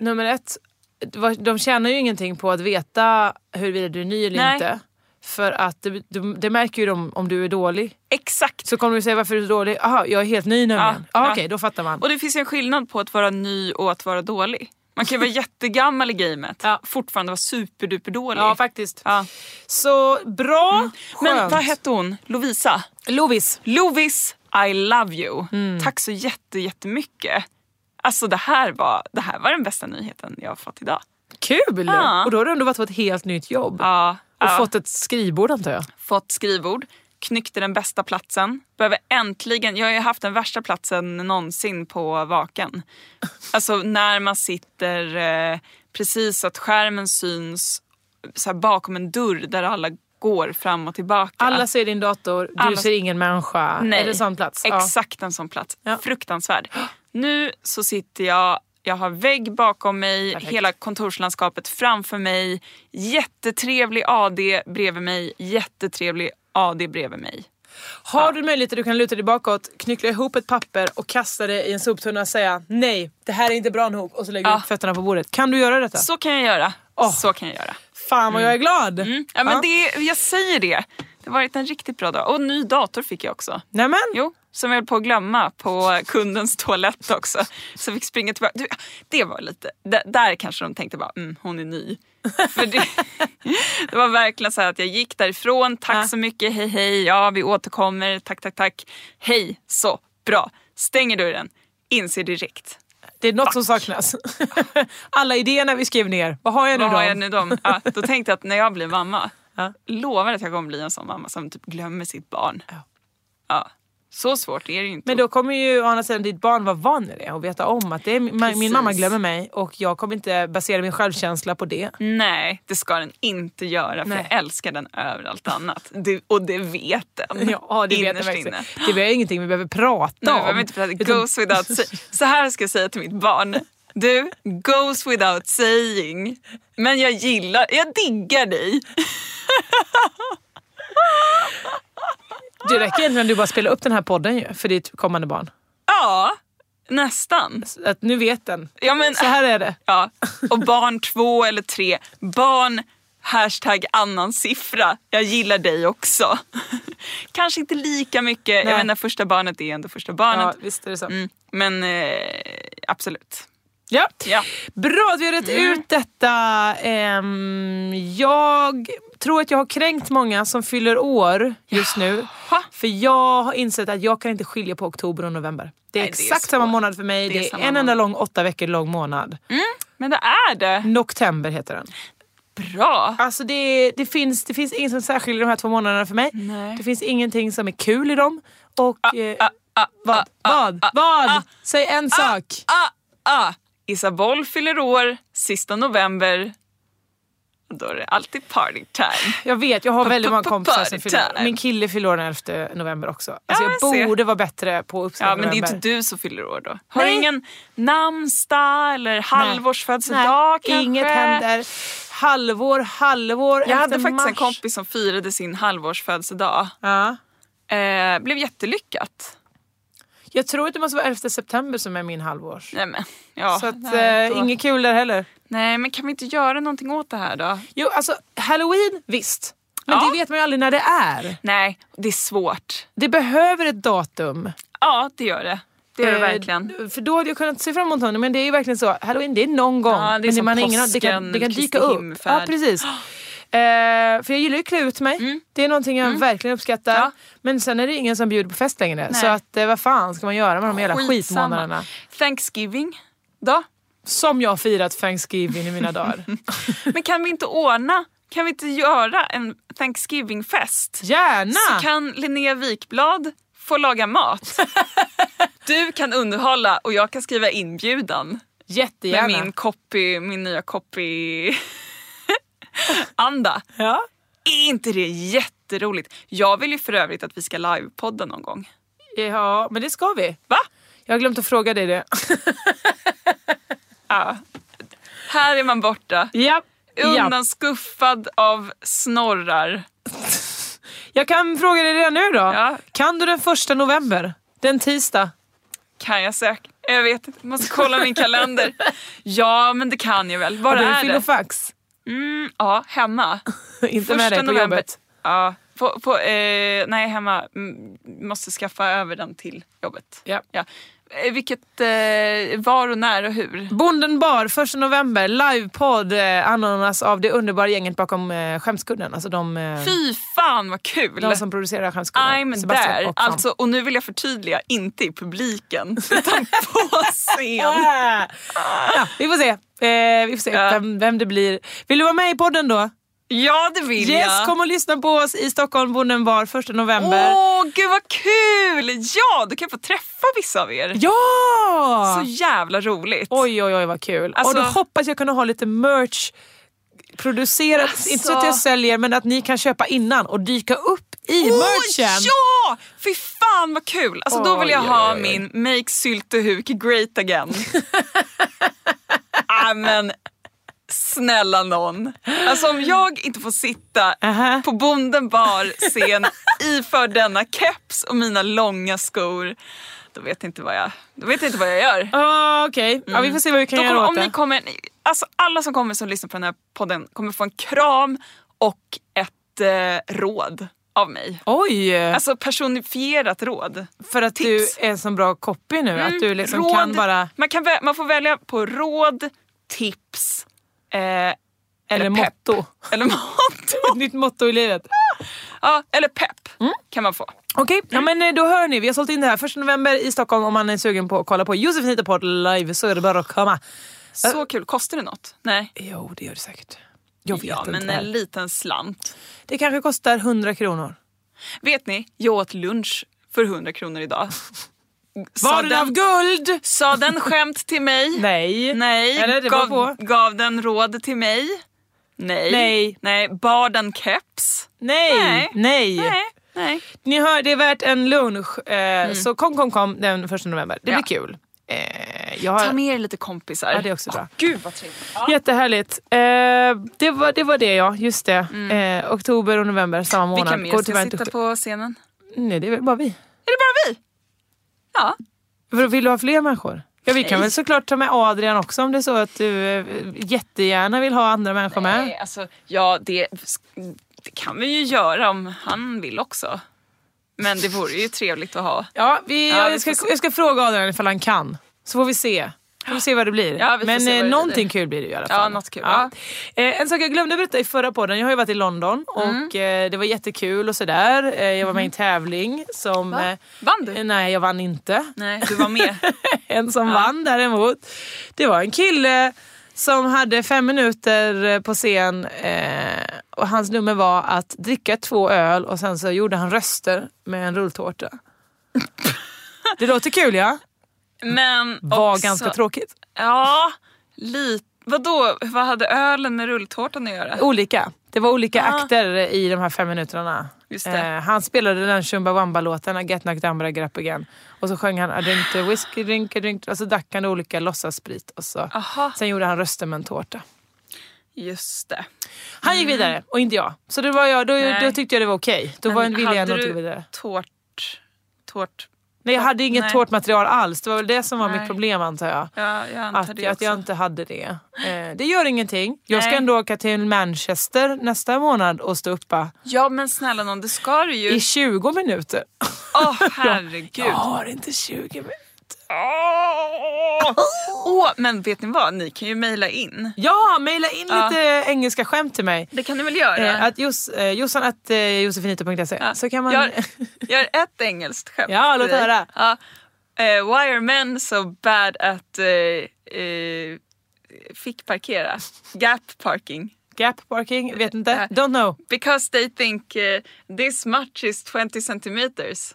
Speaker 5: nummer ett, det var- de tjänar ju ingenting på att veta huruvida du är ny eller
Speaker 6: Nej.
Speaker 5: inte. För att det, det, det märker ju de om du är dålig.
Speaker 6: Exakt.
Speaker 5: Så kommer du säga varför är du dålig? Aha, jag är helt ny nämligen. Ja,
Speaker 6: Ja, ja.
Speaker 5: Okej, då fattar man.
Speaker 6: Och det finns ju en skillnad på att vara ny och att vara dålig. Man kan ju
Speaker 5: *laughs*
Speaker 6: vara jättegammal i gamet,
Speaker 5: Ja.
Speaker 6: fortfarande vara superduper dålig.
Speaker 5: Ja, faktiskt.
Speaker 6: Ja. Mm.
Speaker 5: Så bra, skönt.
Speaker 6: Men vad hette hon? Lovisa?
Speaker 5: Lovis. Mm.
Speaker 6: Lovis, I love you. Tack så jätte, jättemycket. Alltså det här, var, det här var den bästa nyheten jag har fått idag.
Speaker 5: Kul!
Speaker 6: Ja.
Speaker 5: Och då har du ändå varit på ett helt nytt jobb.
Speaker 6: Ja,
Speaker 5: Och
Speaker 6: ja.
Speaker 5: fått ett skrivbord antar jag.
Speaker 6: fått skrivbord, knyckte den bästa platsen. Behöver äntligen, jag har ju haft den värsta platsen någonsin på vaken. Alltså när man sitter eh, precis så att skärmen syns så här, bakom en dörr där alla går fram och tillbaka.
Speaker 5: Alla ser din dator, du
Speaker 6: Alla-
Speaker 5: ser ingen människa.
Speaker 6: Nej.
Speaker 5: Är det sån plats? Ja.
Speaker 6: Exakt en sån plats.
Speaker 5: Ja.
Speaker 6: Fruktansvärd. Nu så sitter jag, jag har vägg bakom mig,
Speaker 5: Perfekt.
Speaker 6: hela kontorslandskapet framför mig. Jättetrevlig AD bredvid mig, jättetrevlig AD bredvid mig.
Speaker 5: Har du möjligheter du kan luta dig bakåt, knyckla ihop ett papper och kasta det i en soptunna och säga nej, det här är inte bra nog och så lägger du
Speaker 6: Ja.
Speaker 5: upp fötterna på bordet. Kan du göra detta?
Speaker 6: Så kan jag göra. Så kan jag göra.
Speaker 5: Fan vad jag är glad!
Speaker 6: Mm. Ja, men Det, jag säger det. Det har varit en riktigt bra dag. Och ny dator fick jag också.
Speaker 5: Nämen.
Speaker 6: Jo, som jag höll på att glömma på kundens toalett också. Så jag fick springa tillbaka. Du, det var lite... d- Där kanske de tänkte bara, mm, hon är ny. För det, *laughs* det var verkligen så här att jag gick därifrån, tack så mycket, hej hej, ja vi återkommer, tack tack tack. Hej, så, bra. Stänger dörren, inser direkt.
Speaker 5: Det är något som saknas. *laughs* Alla idéerna vi skrev ner, vad har jag nu
Speaker 6: Vad
Speaker 5: då?
Speaker 6: har jag nu dem? Ja, då tänkte jag att när jag blir mamma, lovar att jag kommer bli en sån mamma som typ glömmer sitt barn. Ja. Så svårt är det ju inte.
Speaker 5: Men då kommer ju å andra sidan ditt barn vara van vid det och veta om att det är, min, min
Speaker 6: Precis.
Speaker 5: mamma glömmer mig och jag kommer inte basera min självkänsla på det.
Speaker 6: Nej, det ska den inte göra för
Speaker 5: Nej.
Speaker 6: jag älskar den över
Speaker 5: *laughs*
Speaker 6: allt annat. Det, och det vet den.
Speaker 5: Ja, det vet jag
Speaker 6: innerst
Speaker 5: verkligen.
Speaker 6: inne.
Speaker 5: Det är ingenting vi behöver prata
Speaker 6: Nej,
Speaker 5: om.
Speaker 6: vi behöver inte
Speaker 5: Utan-
Speaker 6: prata goes without say- Så här ska jag säga till mitt barn. Du, goes without saying. Men jag gillar, jag diggar dig.
Speaker 5: Det räcker egentligen att du bara spelar upp den här podden ju, för ditt kommande barn.
Speaker 6: Ja, nästan.
Speaker 5: Att nu vet den.
Speaker 6: Ja, men,
Speaker 5: Så här är det.
Speaker 6: *laughs* ja. Och barn två eller tre. Barn, hashtag annan siffra. Jag gillar dig också. *laughs* Kanske inte lika mycket.
Speaker 5: Nej.
Speaker 6: Jag menar, första barnet är ändå första barnet.
Speaker 5: Ja, visst är det så.
Speaker 6: Mm, men eh, absolut.
Speaker 5: Ja.
Speaker 6: Ja.
Speaker 5: Bra att vi har rätt
Speaker 6: Mm.
Speaker 5: ut detta. Ehm, jag tror att jag har kränkt många som fyller år just nu. För jag har insett att jag kan inte skilja på oktober och november. Det är
Speaker 6: Nej, det är
Speaker 5: exakt
Speaker 6: svårt.
Speaker 5: samma månad för mig.
Speaker 6: Det
Speaker 5: Det
Speaker 6: är
Speaker 5: är,
Speaker 6: samma
Speaker 5: en
Speaker 6: månad.
Speaker 5: enda lång åtta veckor lång månad.
Speaker 6: Men det är det.
Speaker 5: Noktember heter den.
Speaker 6: Bra.
Speaker 5: Alltså det, det, finns, det finns inget som särskiljer de här två månaderna för mig.
Speaker 6: Nej.
Speaker 5: Det finns ingenting som är kul i dem. Och... eh,
Speaker 6: ah,
Speaker 5: vad? vad? vad? Säg en sak!
Speaker 6: Ah, ah. Isabel fyller år sista november. Då är det alltid party time.
Speaker 5: Jag vet, jag har
Speaker 6: Pa-
Speaker 5: väldigt
Speaker 6: pa-
Speaker 5: många
Speaker 6: pa-
Speaker 5: kompisar som
Speaker 6: party
Speaker 5: fyller år.
Speaker 6: time.
Speaker 5: Min kille fyller år den 11 november också. Alltså
Speaker 6: Ja,
Speaker 5: jag
Speaker 6: jag ser.
Speaker 5: borde vara bättre på att uppskatta
Speaker 6: Ja, men det är
Speaker 5: november.
Speaker 6: inte du som fyller år då. Har
Speaker 5: Nej.
Speaker 6: du ingen namnsdag eller halvårsfödelsedag
Speaker 5: Nej,
Speaker 6: kanske?
Speaker 5: inget händer. Halvår, halvår,
Speaker 6: Jag hade
Speaker 5: 11
Speaker 6: faktiskt en
Speaker 5: mars.
Speaker 6: kompis som firade sin halvårsfödelsedag.
Speaker 5: Ja.
Speaker 6: Eh, blev jättelyckat.
Speaker 5: Jag tror att det måste vara 11 september som är min halvårs.
Speaker 6: Nej, men, ja,
Speaker 5: Så att,
Speaker 6: nej,
Speaker 5: eh,
Speaker 6: då-
Speaker 5: inget kul där heller.
Speaker 6: nej, men kan vi inte göra någonting åt det här då?
Speaker 5: Jo, alltså halloween, visst. Men
Speaker 6: Ja.
Speaker 5: det vet man ju aldrig när det är.
Speaker 6: Nej, det är svårt.
Speaker 5: Det behöver ett datum.
Speaker 6: Ja, det gör det. Det gör det
Speaker 5: Eh,
Speaker 6: verkligen.
Speaker 5: För då hade jag kunnat se fram emot honom. Men det är ju verkligen så, halloween det är någon gång.
Speaker 6: Ja, det är
Speaker 5: men
Speaker 6: som
Speaker 5: man har aning- det kan,
Speaker 6: påsken,
Speaker 5: det kan dyka
Speaker 6: Kristi
Speaker 5: upp.
Speaker 6: himmelfärd.
Speaker 5: Ja,
Speaker 6: *gasps*
Speaker 5: precis. Eh, för jag gillar ju att klä ut mig.
Speaker 6: Mm.
Speaker 5: Det är någonting jag verkligen uppskattar.
Speaker 6: Ja.
Speaker 5: Men sen är det ingen som bjuder på fest längre.
Speaker 6: Nej.
Speaker 5: Så att, eh, vad fan ska man göra med de jävla
Speaker 6: Skitsamma.
Speaker 5: skitmånaderna?
Speaker 6: Thanksgiving då?
Speaker 5: Som jag har firat Thanksgiving i mina dagar.
Speaker 6: *laughs* Men kan vi inte ordna, kan vi inte göra en Thanksgiving-fest?
Speaker 5: Gärna!
Speaker 6: Så kan Linnea Wikblad få
Speaker 5: *laughs*
Speaker 6: laga mat. Du kan underhålla och jag kan skriva inbjudan
Speaker 5: Jättegärna.
Speaker 6: med min copy, min nya copy *laughs* anda.
Speaker 5: Ja.
Speaker 6: Är inte det jätteroligt? Jag vill ju för övrigt att vi ska livepodda någon gång.
Speaker 5: ja, men det ska vi.
Speaker 6: Va?
Speaker 5: Jag har glömt att fråga dig det.
Speaker 6: Här är man borta.
Speaker 5: ja. ja.
Speaker 6: Undanskuffad av snorrar.
Speaker 5: Jag kan fråga dig redan nu då.
Speaker 6: Ja.
Speaker 5: Kan du den första november? Den tisdag?
Speaker 6: Kan jag söka? Jag vet inte, måste kolla
Speaker 5: *laughs*
Speaker 6: min kalender. Ja, men det kan jag väl. Var
Speaker 5: Har du en
Speaker 6: är det?
Speaker 5: filofax?
Speaker 6: Mm, ja, hemma.
Speaker 5: *laughs* Inte med dig på jobbet.
Speaker 6: Ja, på, på, eh, nej, hemma. Mm, Måste skaffa över den till jobbet.
Speaker 5: Ja.
Speaker 6: Ja. Eh, Vilket, eh, var och när och hur.
Speaker 5: Bonden bar, 1 november, livepodd eh, anordnas av det underbara gänget bakom eh, Skämskudden. Alltså de, eh,
Speaker 6: Fy fan vad kul!
Speaker 5: de som producerar Skämskudden.
Speaker 6: I'm
Speaker 5: Sebastian
Speaker 6: there.
Speaker 5: Sam.
Speaker 6: Alltså, och nu vill jag förtydliga, inte
Speaker 5: *laughs*
Speaker 6: i publiken utan på scen.
Speaker 5: Ah! Ja, vi får se, eh, vi får se
Speaker 6: Ja.
Speaker 5: vem, vem det blir. Vill du vara med i podden då?
Speaker 6: Ja, det vill
Speaker 5: Yes,
Speaker 6: jag.
Speaker 5: kom och lyssna på oss i Stockholm, Bonden bar, 1 november.
Speaker 6: Åh, gud vad kul! Ja, du kan få träffa vissa av er.
Speaker 5: Ja!
Speaker 6: Så jävla roligt.
Speaker 5: Oj, oj, oj vad kul.
Speaker 6: Alltså-
Speaker 5: och då hoppas jag kunna ha lite merch producerat.
Speaker 6: alltså-
Speaker 5: Inte så att jag säljer, men att ni kan köpa innan och dyka upp i
Speaker 6: Åh,
Speaker 5: merchen.
Speaker 6: ja! Fy fan vad kul! Alltså, då vill jag
Speaker 5: Oj,
Speaker 6: ha
Speaker 5: oj, oj.
Speaker 6: min
Speaker 5: *laughs*
Speaker 6: Make Syltehuk great again. ah, Äh, men snälla någon. Alltså om jag inte får sitta på Bonden bar scen iför denna keps och mina långa skor. Då vet jag inte vad jag, då vet jag, inte vad jag gör. Mm.
Speaker 5: Ah, Okej, ja, vi får se vad vi kan
Speaker 6: Då
Speaker 5: göra
Speaker 6: kommer,
Speaker 5: åt
Speaker 6: om
Speaker 5: det.
Speaker 6: ni kommer, alltså Alla som kommer som lyssnar på den här podden kommer få en kram och ett eh, råd av mig.
Speaker 5: Oj!
Speaker 6: Alltså personifierat råd.
Speaker 5: för att
Speaker 6: tips. Mm.
Speaker 5: du är en sån bra copy nu. att du liksom
Speaker 6: råd,
Speaker 5: kan bara...
Speaker 6: man, kan vä- man får välja på råd, tips eh, eller,
Speaker 5: Eller
Speaker 6: pepp.
Speaker 5: motto.
Speaker 6: Eller motto.
Speaker 5: *laughs* Ett nytt motto i livet. Mm.
Speaker 6: Ja, eller pepp kan man få.
Speaker 5: Okej, ja, men eh, då hör ni. Vi har sålt in det här 1 november i Stockholm om man är sugen på att kolla på Josefin hittar podd live så är det bara att komma.
Speaker 6: Så kul. Kostar det något? Nej.
Speaker 5: Jo, det gör det säkert. Jag vet
Speaker 6: Ja,
Speaker 5: inte.
Speaker 6: men
Speaker 5: det här.
Speaker 6: en liten slant.
Speaker 5: Det kanske kostar 100 kronor.
Speaker 6: Vet ni, jag åt lunch för 100 kronor idag. Sa
Speaker 5: Var den av guld?
Speaker 6: Sa den skämt till mig?
Speaker 5: *laughs* Nej.
Speaker 6: Nej.
Speaker 5: Eller det
Speaker 6: gav,
Speaker 5: var på.
Speaker 6: gav den råd till mig? Nej.
Speaker 5: Nej.
Speaker 6: Nej. Bar den keps?
Speaker 5: Nej.
Speaker 6: Nej.
Speaker 5: Nej.
Speaker 6: Nej. Nej. Mm.
Speaker 5: Ni hör, det är värt en lunch. Eh, Så kom, kom, kom den 1 november. Det
Speaker 6: Ja.
Speaker 5: blir kul. Eh, jag
Speaker 6: Ta
Speaker 5: har...
Speaker 6: med er lite kompisar.
Speaker 5: Ja, det är också bra.
Speaker 6: Gud vad trevligt.
Speaker 5: Jättehärligt. Eh, det, var, det var det ja, just det. Eh, oktober och november, samma månad.
Speaker 6: Vilka
Speaker 5: Går
Speaker 6: Mm. mer
Speaker 5: tyvärr
Speaker 6: ska
Speaker 5: inte
Speaker 6: sitta
Speaker 5: att-
Speaker 6: på scenen?
Speaker 5: Nej, det är väl bara vi.
Speaker 6: Är det bara vi? Ja.
Speaker 5: Vill- Vill du ha fler människor? Ja, vi kan
Speaker 6: Nej.
Speaker 5: väl såklart ta med Adrian också om det är så att du eh, jättegärna vill ha andra människor
Speaker 6: Nej,
Speaker 5: med.
Speaker 6: alltså, ja, det, det kan vi ju göra om han vill också. Men det vore ju trevligt att ha.
Speaker 5: Ja, vi,
Speaker 6: Ja, vi
Speaker 5: jag, ska,
Speaker 6: får se.
Speaker 5: jag ska fråga Adrian ifall han kan. Så får vi se. Får vi se vad det blir.
Speaker 6: Ja, vi får
Speaker 5: Men eh,
Speaker 6: se vad det blir.
Speaker 5: någonting kul blir det ju i alla fall.
Speaker 6: Ja, något kul.
Speaker 5: Eh, en sak jag glömde berätta i förra podden. Jag har ju varit i London
Speaker 6: Mm.
Speaker 5: och eh, det var jättekul och sådär. Eh, jag var med i en tävling som...
Speaker 6: Va?
Speaker 5: eh,
Speaker 6: Vann du?
Speaker 5: eh, Nej, jag vann inte.
Speaker 6: Nej, du var med.
Speaker 5: *laughs* en som vann däremot. Det var en kille som hade fem minuter eh, på scen eh, och hans nummer var att dricka två öl och sen så gjorde han röster med en
Speaker 6: *laughs*
Speaker 5: rulltårta. Det låter kul ja,
Speaker 6: Men
Speaker 5: var
Speaker 6: också,
Speaker 5: ganska tråkigt.
Speaker 6: Ja, lite. Vadå, vad hade ölen med rulltårtan att göra?
Speaker 5: Olika. Det var olika
Speaker 6: Ah.
Speaker 5: akter i de här fem minuterna.
Speaker 6: Just det.
Speaker 5: Eh, han spelade den Chumbawamba-låten Get Knocked Down By The Grap Again. Och så sjöng han I drink the whiskey, drink a drink och så drack han olika låtsassprit och så.
Speaker 6: Aha.
Speaker 5: Sen gjorde han röster med en tårta.
Speaker 6: Just det. Mm.
Speaker 5: Han gick vidare och inte jag. Så det var jag, då,
Speaker 6: Nej.
Speaker 5: då tyckte jag det var okej. Då var en vilja ändå
Speaker 6: hade
Speaker 5: att gå
Speaker 6: du
Speaker 5: vidare.
Speaker 6: tårt... tårt
Speaker 5: Nej, jag hade inget
Speaker 6: Nej.
Speaker 5: tårtmaterial alls. Det var väl det som var mitt
Speaker 6: Nej.
Speaker 5: problem antar jag.
Speaker 6: ja, jag antar
Speaker 5: Att,
Speaker 6: det
Speaker 5: att
Speaker 6: också.
Speaker 5: jag inte hade det. Eh, det gör ingenting. Jag ska
Speaker 6: Nej.
Speaker 5: ändå åka till Manchester nästa månad och stå uppa
Speaker 6: Ja, men snälla någon, det ska du ju.
Speaker 5: i 20 minuter.
Speaker 6: Åh, herregud.
Speaker 5: *laughs* Jag har inte 20 minuter.
Speaker 6: Åh, Åh, men vet ni vad? Ni kan ju mejla in.
Speaker 5: Ja, mejla in
Speaker 6: Ja.
Speaker 5: lite engelska skämt till mig.
Speaker 6: Det kan ni väl göra?
Speaker 5: Eh, att jos, eh, Jossan att eh, josefinita.se
Speaker 6: Ja.
Speaker 5: så kan man... *laughs*
Speaker 6: Gör, gör ett engelskt skämt.
Speaker 5: Ja,
Speaker 6: till
Speaker 5: låt
Speaker 6: dig.
Speaker 5: höra.
Speaker 6: Ja. Eh, why are men so bad at eh, eh, fick parkera? Gap parking.
Speaker 5: Gap parking, vet inte.
Speaker 6: Ja.
Speaker 5: Don't know.
Speaker 6: Because they think eh, this much is 20 centimeters.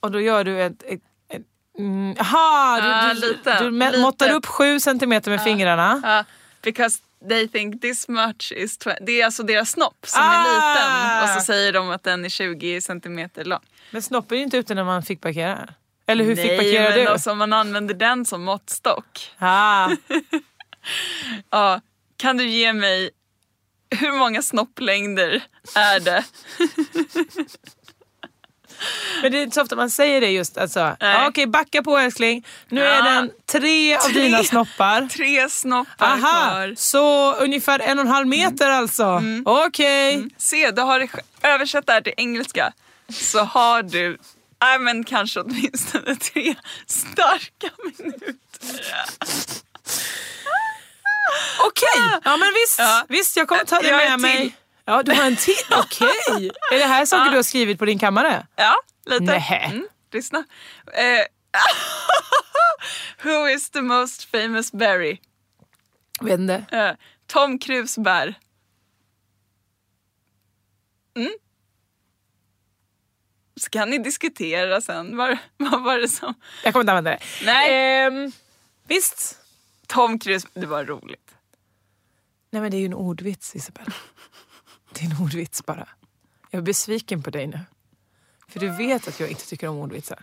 Speaker 5: Och då gör du ett... ett, ett mm, aha, du,
Speaker 6: Ja,
Speaker 5: du,
Speaker 6: Ah, lite,
Speaker 5: du mä-
Speaker 6: lite.
Speaker 5: måttar upp sju centimeter med fingrarna.
Speaker 6: Ja, because they think this much is 20. Det är alltså deras snopp som
Speaker 5: Ah!
Speaker 6: är liten och så säger de att den är 20 centimeter lång.
Speaker 5: Men snoppen är ju inte ute när man fick parkera. Eller hur fick
Speaker 6: Nej,
Speaker 5: parkera
Speaker 6: men
Speaker 5: du?
Speaker 6: alltså man använder den som måttstock.
Speaker 5: Ah,
Speaker 6: *laughs* Ja, kan du ge mig hur många snopplängder är det?
Speaker 5: men det är inte så ofta man säger det just. Alltså. Ja, Okej,
Speaker 6: Nej.
Speaker 5: backa på älskling. Nu är
Speaker 6: Ja.
Speaker 5: den tre av
Speaker 6: Tre.
Speaker 5: dina snoppar.
Speaker 6: Tre snoppar
Speaker 5: Aha,
Speaker 6: kvar. Mm.
Speaker 5: så ungefär en och en halv meter alltså. Okej.
Speaker 6: Se, du har det sj- översatt det här till engelska. Så har du, nej men kanske åtminstone tre starka minuter.
Speaker 5: Okej, ja men visst.
Speaker 6: Ja.
Speaker 5: Visst, jag kommer ta det
Speaker 6: Jag har
Speaker 5: med
Speaker 6: en
Speaker 5: mig.
Speaker 6: till.
Speaker 5: Ja, du har en till. Okej.
Speaker 6: *laughs*
Speaker 5: Är det här saker du har skrivit på din kammare?
Speaker 6: Ja, lite.
Speaker 5: Nähä.
Speaker 6: Mm, lyssna. Eh, *laughs* who is the most famous berry?
Speaker 5: Vet inte.
Speaker 6: Eh, Tom Cruise bär. Mm. Så kan ni diskutera sen. Var, vad var det som...
Speaker 5: Jag kommer inte använda det.
Speaker 6: Nej.
Speaker 5: Ehm, visst.
Speaker 6: Tom Cruise, det var roligt.
Speaker 5: Nej men det är ju en ordvits Isabella. Det är en ordvits bara. Jag är besviken på dig nu. För du vet att jag inte tycker om ordvitsar.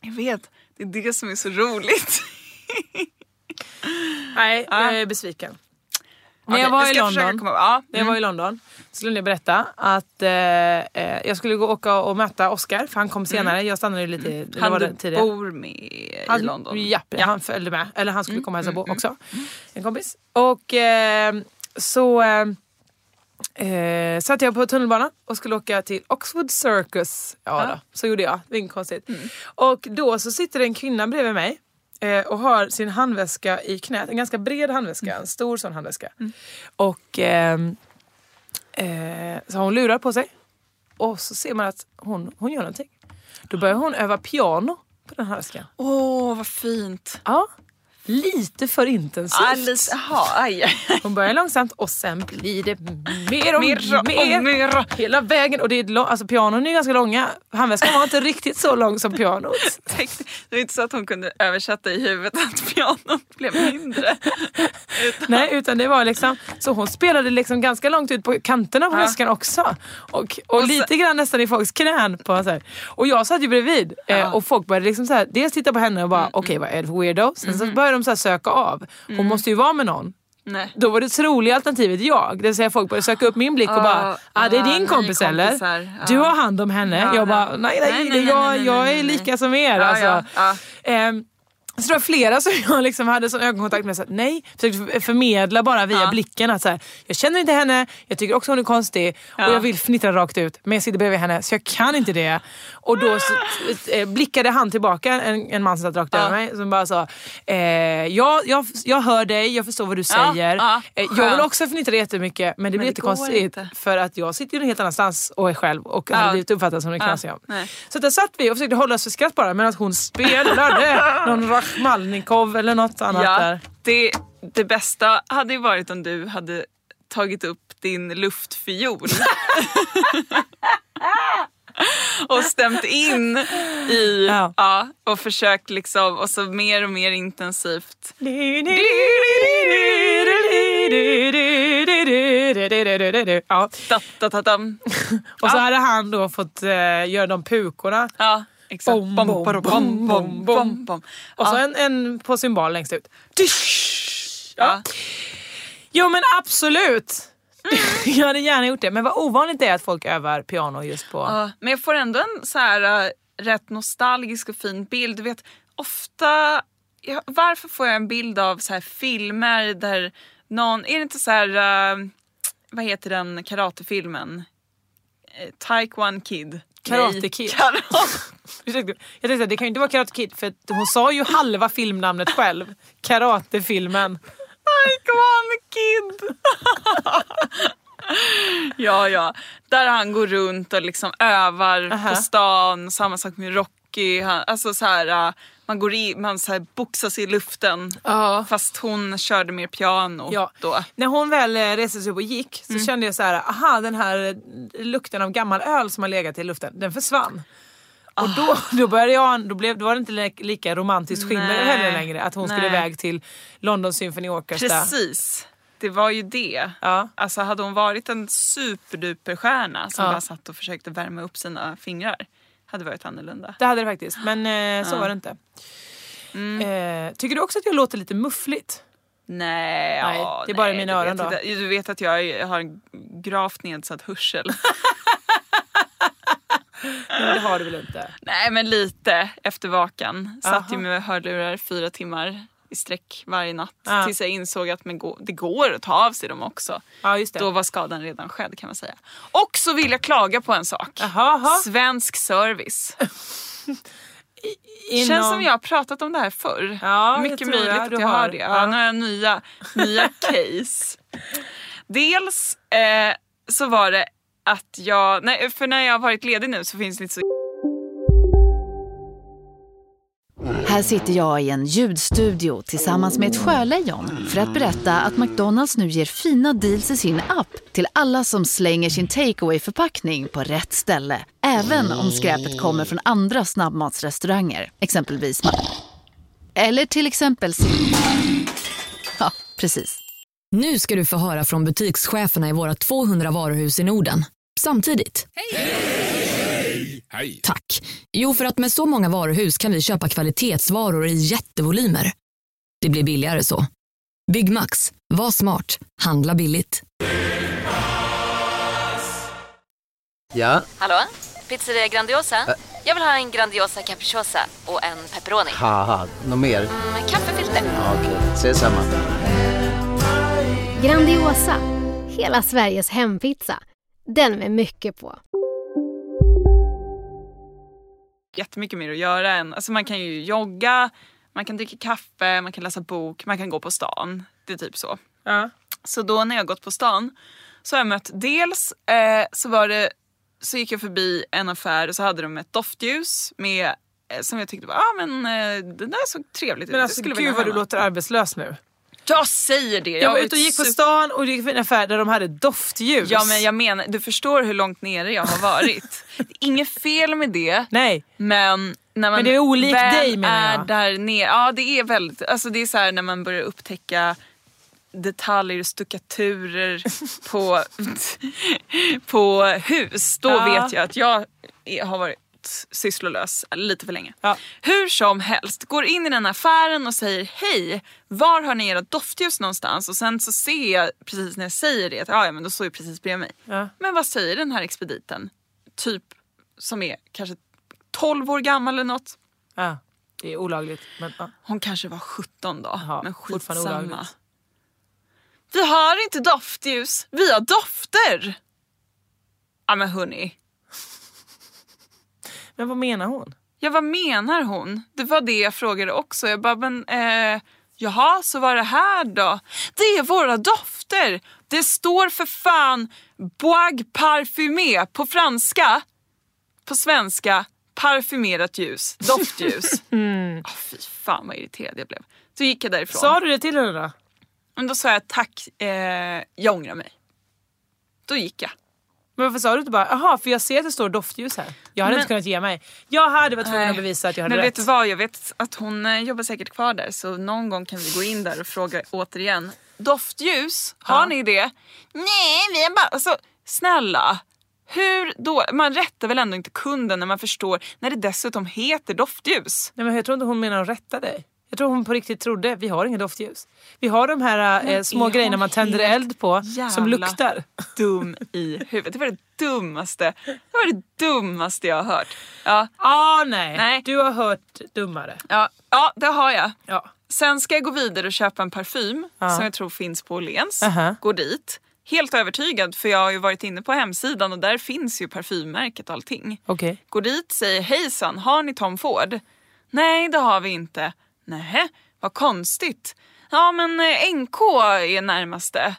Speaker 6: Jag vet, det är det som är *laughs* så roligt.
Speaker 5: Nej, jag är besviken.
Speaker 6: När
Speaker 7: Okej,
Speaker 6: jag var
Speaker 7: jag
Speaker 6: i
Speaker 7: ska försöka
Speaker 6: London,
Speaker 7: komma- ja, Mm.
Speaker 6: när jag var i London så glömde jag berätta att eh, eh, jag skulle gå och åka och möta Oscar för han kom senare. Jag stannade ju lite eller
Speaker 7: Mm. Han
Speaker 6: var det
Speaker 7: du
Speaker 6: tidigare?
Speaker 7: bor med i
Speaker 6: han,
Speaker 7: London. Mm,
Speaker 6: Japp, han följde med. Eller han skulle komma och hälsa på också. En kompis. Och eh, så eh, eh, satt jag på tunnelbanan och skulle åka till Oxford Circus. Ja, Då, så gjorde jag. Det är inget konstigt.
Speaker 7: Mm.
Speaker 6: Och då så sitter det en kvinna bredvid mig eh, och har sin handväska i knät. En ganska bred handväska.
Speaker 7: Mm.
Speaker 6: En stor sån handväska. Och ehm, eh, så har hon lurar på sig. Och så ser man att hon, hon gör någonting. Då börjar hon öva piano på den här väskan.
Speaker 7: Åh, vad fint.
Speaker 6: Ja. Lite för
Speaker 7: Ah,
Speaker 6: intensivt.
Speaker 7: lite, aha, aj, aj.
Speaker 6: Hon börjar långsamt och sen blir det mer och
Speaker 7: Mer och
Speaker 6: mer.
Speaker 7: mer.
Speaker 6: Hela vägen. Och det är lång, alltså pianon är ganska långa. Handväskan var inte riktigt så lång som pianot.
Speaker 7: Tänkte, det var inte så att hon kunde översätta i huvudet att pianot blev
Speaker 6: *laughs*
Speaker 7: mindre. Utan,
Speaker 6: Nej, utan det var liksom... Så hon spelade liksom ganska långt ut på kanterna på
Speaker 7: Ja.
Speaker 6: väskan också. Och, och,
Speaker 7: så-
Speaker 6: lite grann nästan i folks knän. På, så här. Och jag satt ju bredvid eh, och folk började liksom så här, dels titta på henne och bara
Speaker 7: Mm.
Speaker 6: okej vad är det för weirdo? Sen så började de så här söka av. Hon måste ju vara med någon.
Speaker 7: Mm-hmm. nej.
Speaker 6: Då var det troliga alternativet jag. Det vill säga folk började söka upp min blick och bara ah, det är
Speaker 7: ah,
Speaker 6: din
Speaker 7: ni
Speaker 6: kompis eller?
Speaker 7: kompisar, ja.
Speaker 6: Du har hand om henne.
Speaker 7: Ja,
Speaker 6: jag bara
Speaker 7: ja.
Speaker 6: nej nej,
Speaker 7: Nej,
Speaker 6: det-
Speaker 7: nej, nej,
Speaker 6: jag,
Speaker 7: nej, nej,
Speaker 6: jag
Speaker 7: nej,
Speaker 6: är
Speaker 7: nej.
Speaker 6: lika som er.
Speaker 7: Ja,
Speaker 6: alltså.
Speaker 7: ja, ja.
Speaker 6: Ehm, så det var flera som jag liksom hade sån ögonkontakt med. Så att, nej, försökte förmedla bara via blicken att så här, jag känner inte henne, jag tycker också hon är konstig och jag vill fnittra rakt ut men jag sitter bredvid henne så jag kan inte det. Och då så, eh, blickade han tillbaka, en, en man som satt rakt över mig som bara sa eh, jag, jag, jag hör dig, jag förstår vad du
Speaker 7: Ja,
Speaker 6: säger.
Speaker 7: ja,
Speaker 6: Eh, jag vill
Speaker 7: skönt.
Speaker 6: också fnittra jättemycket men det blir
Speaker 7: det går
Speaker 6: jättekonstigt
Speaker 7: inte.
Speaker 6: för att jag sitter ju någon helt annanstans och är själv och
Speaker 7: Ja.
Speaker 6: hade blivit uppfattad som en
Speaker 7: Ja,
Speaker 6: knasig av.
Speaker 7: nej.
Speaker 6: Så där satt vi och försökte hålla oss för skratt bara medan hon spelade
Speaker 7: *laughs*
Speaker 6: någon Rachmalnikov eller något annat
Speaker 7: Ja,
Speaker 6: där.
Speaker 7: det, det bästa hade ju varit om du hade tagit upp din luftfiol och stämt in i
Speaker 6: Ja.
Speaker 7: ja. och försökt liksom och så mer och mer intensivt.
Speaker 6: Ja.
Speaker 7: Da, da, da, dam.
Speaker 6: Och så hade han då fått eh, göra de pukorna.
Speaker 7: Ja, exakt.
Speaker 6: Bom, bom,
Speaker 7: bom, bom, bom, bom, bom.
Speaker 6: Och så
Speaker 7: Ja.
Speaker 6: en, en på symbol längst ut.
Speaker 7: Ja.
Speaker 6: Jo men absolut! *laughs* Jag hade gärna gjort det. Men vad ovanligt det är att folk övar piano just på...
Speaker 7: Ja, men jag får ändå en så här äh, rätt nostalgisk och fin bild. Du vet, ofta... Ja, varför får jag en bild av så här filmer där någon... Är det inte så här... äh, vad heter den karatefilmen? Eh, Taekwon Kid.
Speaker 6: Karate
Speaker 7: Nej,
Speaker 6: Kid.
Speaker 7: Karate.
Speaker 6: *laughs* Ursäkta, Jag tänkte att det kan ju inte vara Karate Kid för att hon sa ju halva filmnamnet själv. Karatefilmen.
Speaker 7: Taekwon Kid! *laughs* ja, ja. Där han går runt och liksom övar
Speaker 6: Aha.
Speaker 7: på stan. Samma sak med Rocky. Han, alltså så här, äh, man går i, man så här boxas i luften.
Speaker 6: Ja.
Speaker 7: Fast hon körde mer piano
Speaker 6: Ja.
Speaker 7: då. Mm.
Speaker 6: När hon väl eh, reste sig upp och gick så kände jag så här, aha den här eh, lukten av gammal öl som har legat i luften, den försvann. Och
Speaker 7: Ah.
Speaker 6: då, då började jag, då, blev, då var det inte li- lika romantiskt skimmer
Speaker 7: Nej.
Speaker 6: heller längre att hon skulle
Speaker 7: Nej.
Speaker 6: iväg till London Symphony Orchestra.
Speaker 7: Precis. Det var ju det.
Speaker 6: Ja.
Speaker 7: Alltså hade hon varit en superduperstjärna som
Speaker 6: Ja.
Speaker 7: bara satt och försökte värma upp sina fingrar hade varit annorlunda.
Speaker 6: Det hade det faktiskt, men eh, så var det inte. Eh, tycker du också att jag låter lite muffligt?
Speaker 7: Mm. Nej,
Speaker 6: Nej,
Speaker 7: ja,
Speaker 6: det är bara i
Speaker 7: nej,
Speaker 6: mina
Speaker 7: du
Speaker 6: öron
Speaker 7: vet
Speaker 6: då.
Speaker 7: inte. Du vet att jag är- har en gravt nedsatt hörsel.
Speaker 6: Nej, det har du väl inte?
Speaker 7: *laughs* nej, men lite efter vakan. Satt ju
Speaker 6: Aha.
Speaker 7: med hörlurar fyra timmar i sträck varje natt
Speaker 6: Ja.
Speaker 7: tills jag insåg att men gå- det går att ta av sig dem också.
Speaker 6: Ja, just det.
Speaker 7: Då var skadan redan skedd kan man säga. Och så vill jag klaga på en sak.
Speaker 6: Jaha, jaha.
Speaker 7: Svensk
Speaker 6: *laughs*
Speaker 7: service.
Speaker 6: Inom-
Speaker 7: Känns som jag har pratat om det här förr.
Speaker 6: Ja, det
Speaker 7: Mycket
Speaker 6: tror
Speaker 7: möjligt
Speaker 6: jag
Speaker 7: att
Speaker 6: du
Speaker 7: jag
Speaker 6: har.
Speaker 7: har, det. Ja,
Speaker 6: Ja.
Speaker 7: Nu har jag nya,
Speaker 6: *laughs*
Speaker 7: nya case. Dels eh, så var det att jag, nej, för när jag har varit ledig nu så finns det inte så
Speaker 2: Här sitter jag i en ljudstudio tillsammans med ett sjölejon för att berätta att McDonalds nu ger fina deals i sin app till alla som slänger sin takeaway förpackning på rätt ställe. Även om skräpet kommer från andra snabbmatsrestauranger, exempelvis Ma- Eller till exempel Sim- Ja, precis.
Speaker 8: Nu ska du få höra från butikscheferna i våra 200 varuhus i Norden. Samtidigt.
Speaker 9: Hej!
Speaker 8: Tack. Jo, för att med så många varuhus kan vi köpa kvalitetsvaror i jättevolymer. Det blir billigare så. Byggmax. Var smart. Handla billigt.
Speaker 9: Ja,
Speaker 10: Hallå? Pizzeria Grandiosa? Jag vill ha en Grandiosa capriciosa och en pepperoni.
Speaker 9: haha, något mer?
Speaker 10: Med kaffefilter.
Speaker 9: Ja, Okej, ses samma.
Speaker 11: Grandiosa, hela Sveriges hempizza. Den med mycket på.
Speaker 7: jättemycket mer att göra än... Alltså man kan ju jogga, man kan dricka kaffe, man kan läsa bok, man kan gå på stan. Det är typ så. Så då när jag gått på stan så har jag mött dels eh, så var det så gick jag förbi en affär och så hade de ett doftljus med eh, som jag tyckte var, ah, men eh, den där såg trevligt ut.
Speaker 6: Men
Speaker 7: Det
Speaker 6: alltså
Speaker 7: skulle jag
Speaker 6: gud
Speaker 7: vilja
Speaker 6: vad du
Speaker 7: ha."
Speaker 6: låter arbetslös nu.
Speaker 7: Jag säger det!
Speaker 6: Jag var ute och gick på stan och gick till en affär där de hade doftljus.
Speaker 7: typ- Ja men jag menar, du förstår hur långt nere jag har
Speaker 6: *laughs*
Speaker 7: varit. Det är Inget fel med det.
Speaker 6: Nej.
Speaker 7: Men när man
Speaker 6: Men det är olikt
Speaker 7: väl
Speaker 6: dig, menar jag.
Speaker 7: är där nere, ja det är väldigt, alltså det är så här när man börjar upptäcka detaljer och
Speaker 6: *laughs*
Speaker 7: stuckaturer på, på hus. Då
Speaker 6: Ja.
Speaker 7: vet jag att jag är- har varit sysslolös lite för länge. Hur som helst, går in i den affären och säger hej, var har ni era doftljus någonstans? Och sen så ser jag precis när jag säger det att "Ah, ja, men då står ju precis bredvid mig. Men vad säger den här expediten? Typ som är kanske 12 år gammal eller något.
Speaker 6: Ja, det är olagligt. Men, ja.
Speaker 7: Hon kanske var 17 då, Ah, men
Speaker 6: fortfarande
Speaker 7: skitsamma.
Speaker 6: olagligt.
Speaker 7: Vi har inte doftljus, vi har dofter! Ja men hörni.
Speaker 6: Men vad menar hon?
Speaker 7: Ja vad menar hon? Det var det jag frågade också. Jag bara men eh, jaha så var det här då? Det är våra dofter! Det står för fan bois parfumé på franska. På svenska parfymerat ljus, doftljus.
Speaker 6: *laughs* Mm.
Speaker 7: Fy fan vad irriterad jag blev. Så gick jag därifrån.
Speaker 6: Sa du det till henne då?
Speaker 7: Men då sa jag tack, eh, jag ångrar mig. Då gick jag.
Speaker 6: Men varför sa du inte bara aha för jag ser att det står doftljus här. Jag hade
Speaker 7: Men-
Speaker 6: inte kunnat ge mig. Jag hade varit tvungen att bevisa att jag hade
Speaker 7: Men
Speaker 6: rätt.
Speaker 7: vet du vad, jag vet att hon eh, jobbar säkert kvar där så någon gång kan vi gå in där och fråga återigen. Doftljus, har ni det? Nej, vi har bara... Alltså snälla. Hur då? Man rättar väl ändå inte kunden när man förstår när det dessutom heter doftljus?
Speaker 6: Nej, men jag tror inte hon menar att rätta dig. Jag tror hon på riktigt trodde vi har inga doftljus. Vi har de här eh,
Speaker 7: Men
Speaker 6: små
Speaker 7: är
Speaker 6: grejerna
Speaker 7: hon
Speaker 6: man tänder
Speaker 7: helt
Speaker 6: eld på som
Speaker 7: jävla
Speaker 6: luktar.
Speaker 7: Dum i huvudet. Det var det dummaste, det var det dummaste jag har hört. Ja,
Speaker 6: ah, nej. Du har hört dummare.
Speaker 7: Ja, ja det har jag.
Speaker 6: Ja.
Speaker 7: Sen ska jag gå vidare och köpa en parfym
Speaker 6: Ja.
Speaker 7: som jag tror finns på Åhléns.
Speaker 6: Aha.
Speaker 7: Går dit. Helt övertygad för jag har ju varit inne på hemsidan och där finns ju parfymmärket och allting.
Speaker 6: Okej.
Speaker 7: Går dit, säger hejsan, har ni Tom Ford? Nej, det har vi inte. Nähä, vad konstigt. Ja, men eh, NK är närmaste.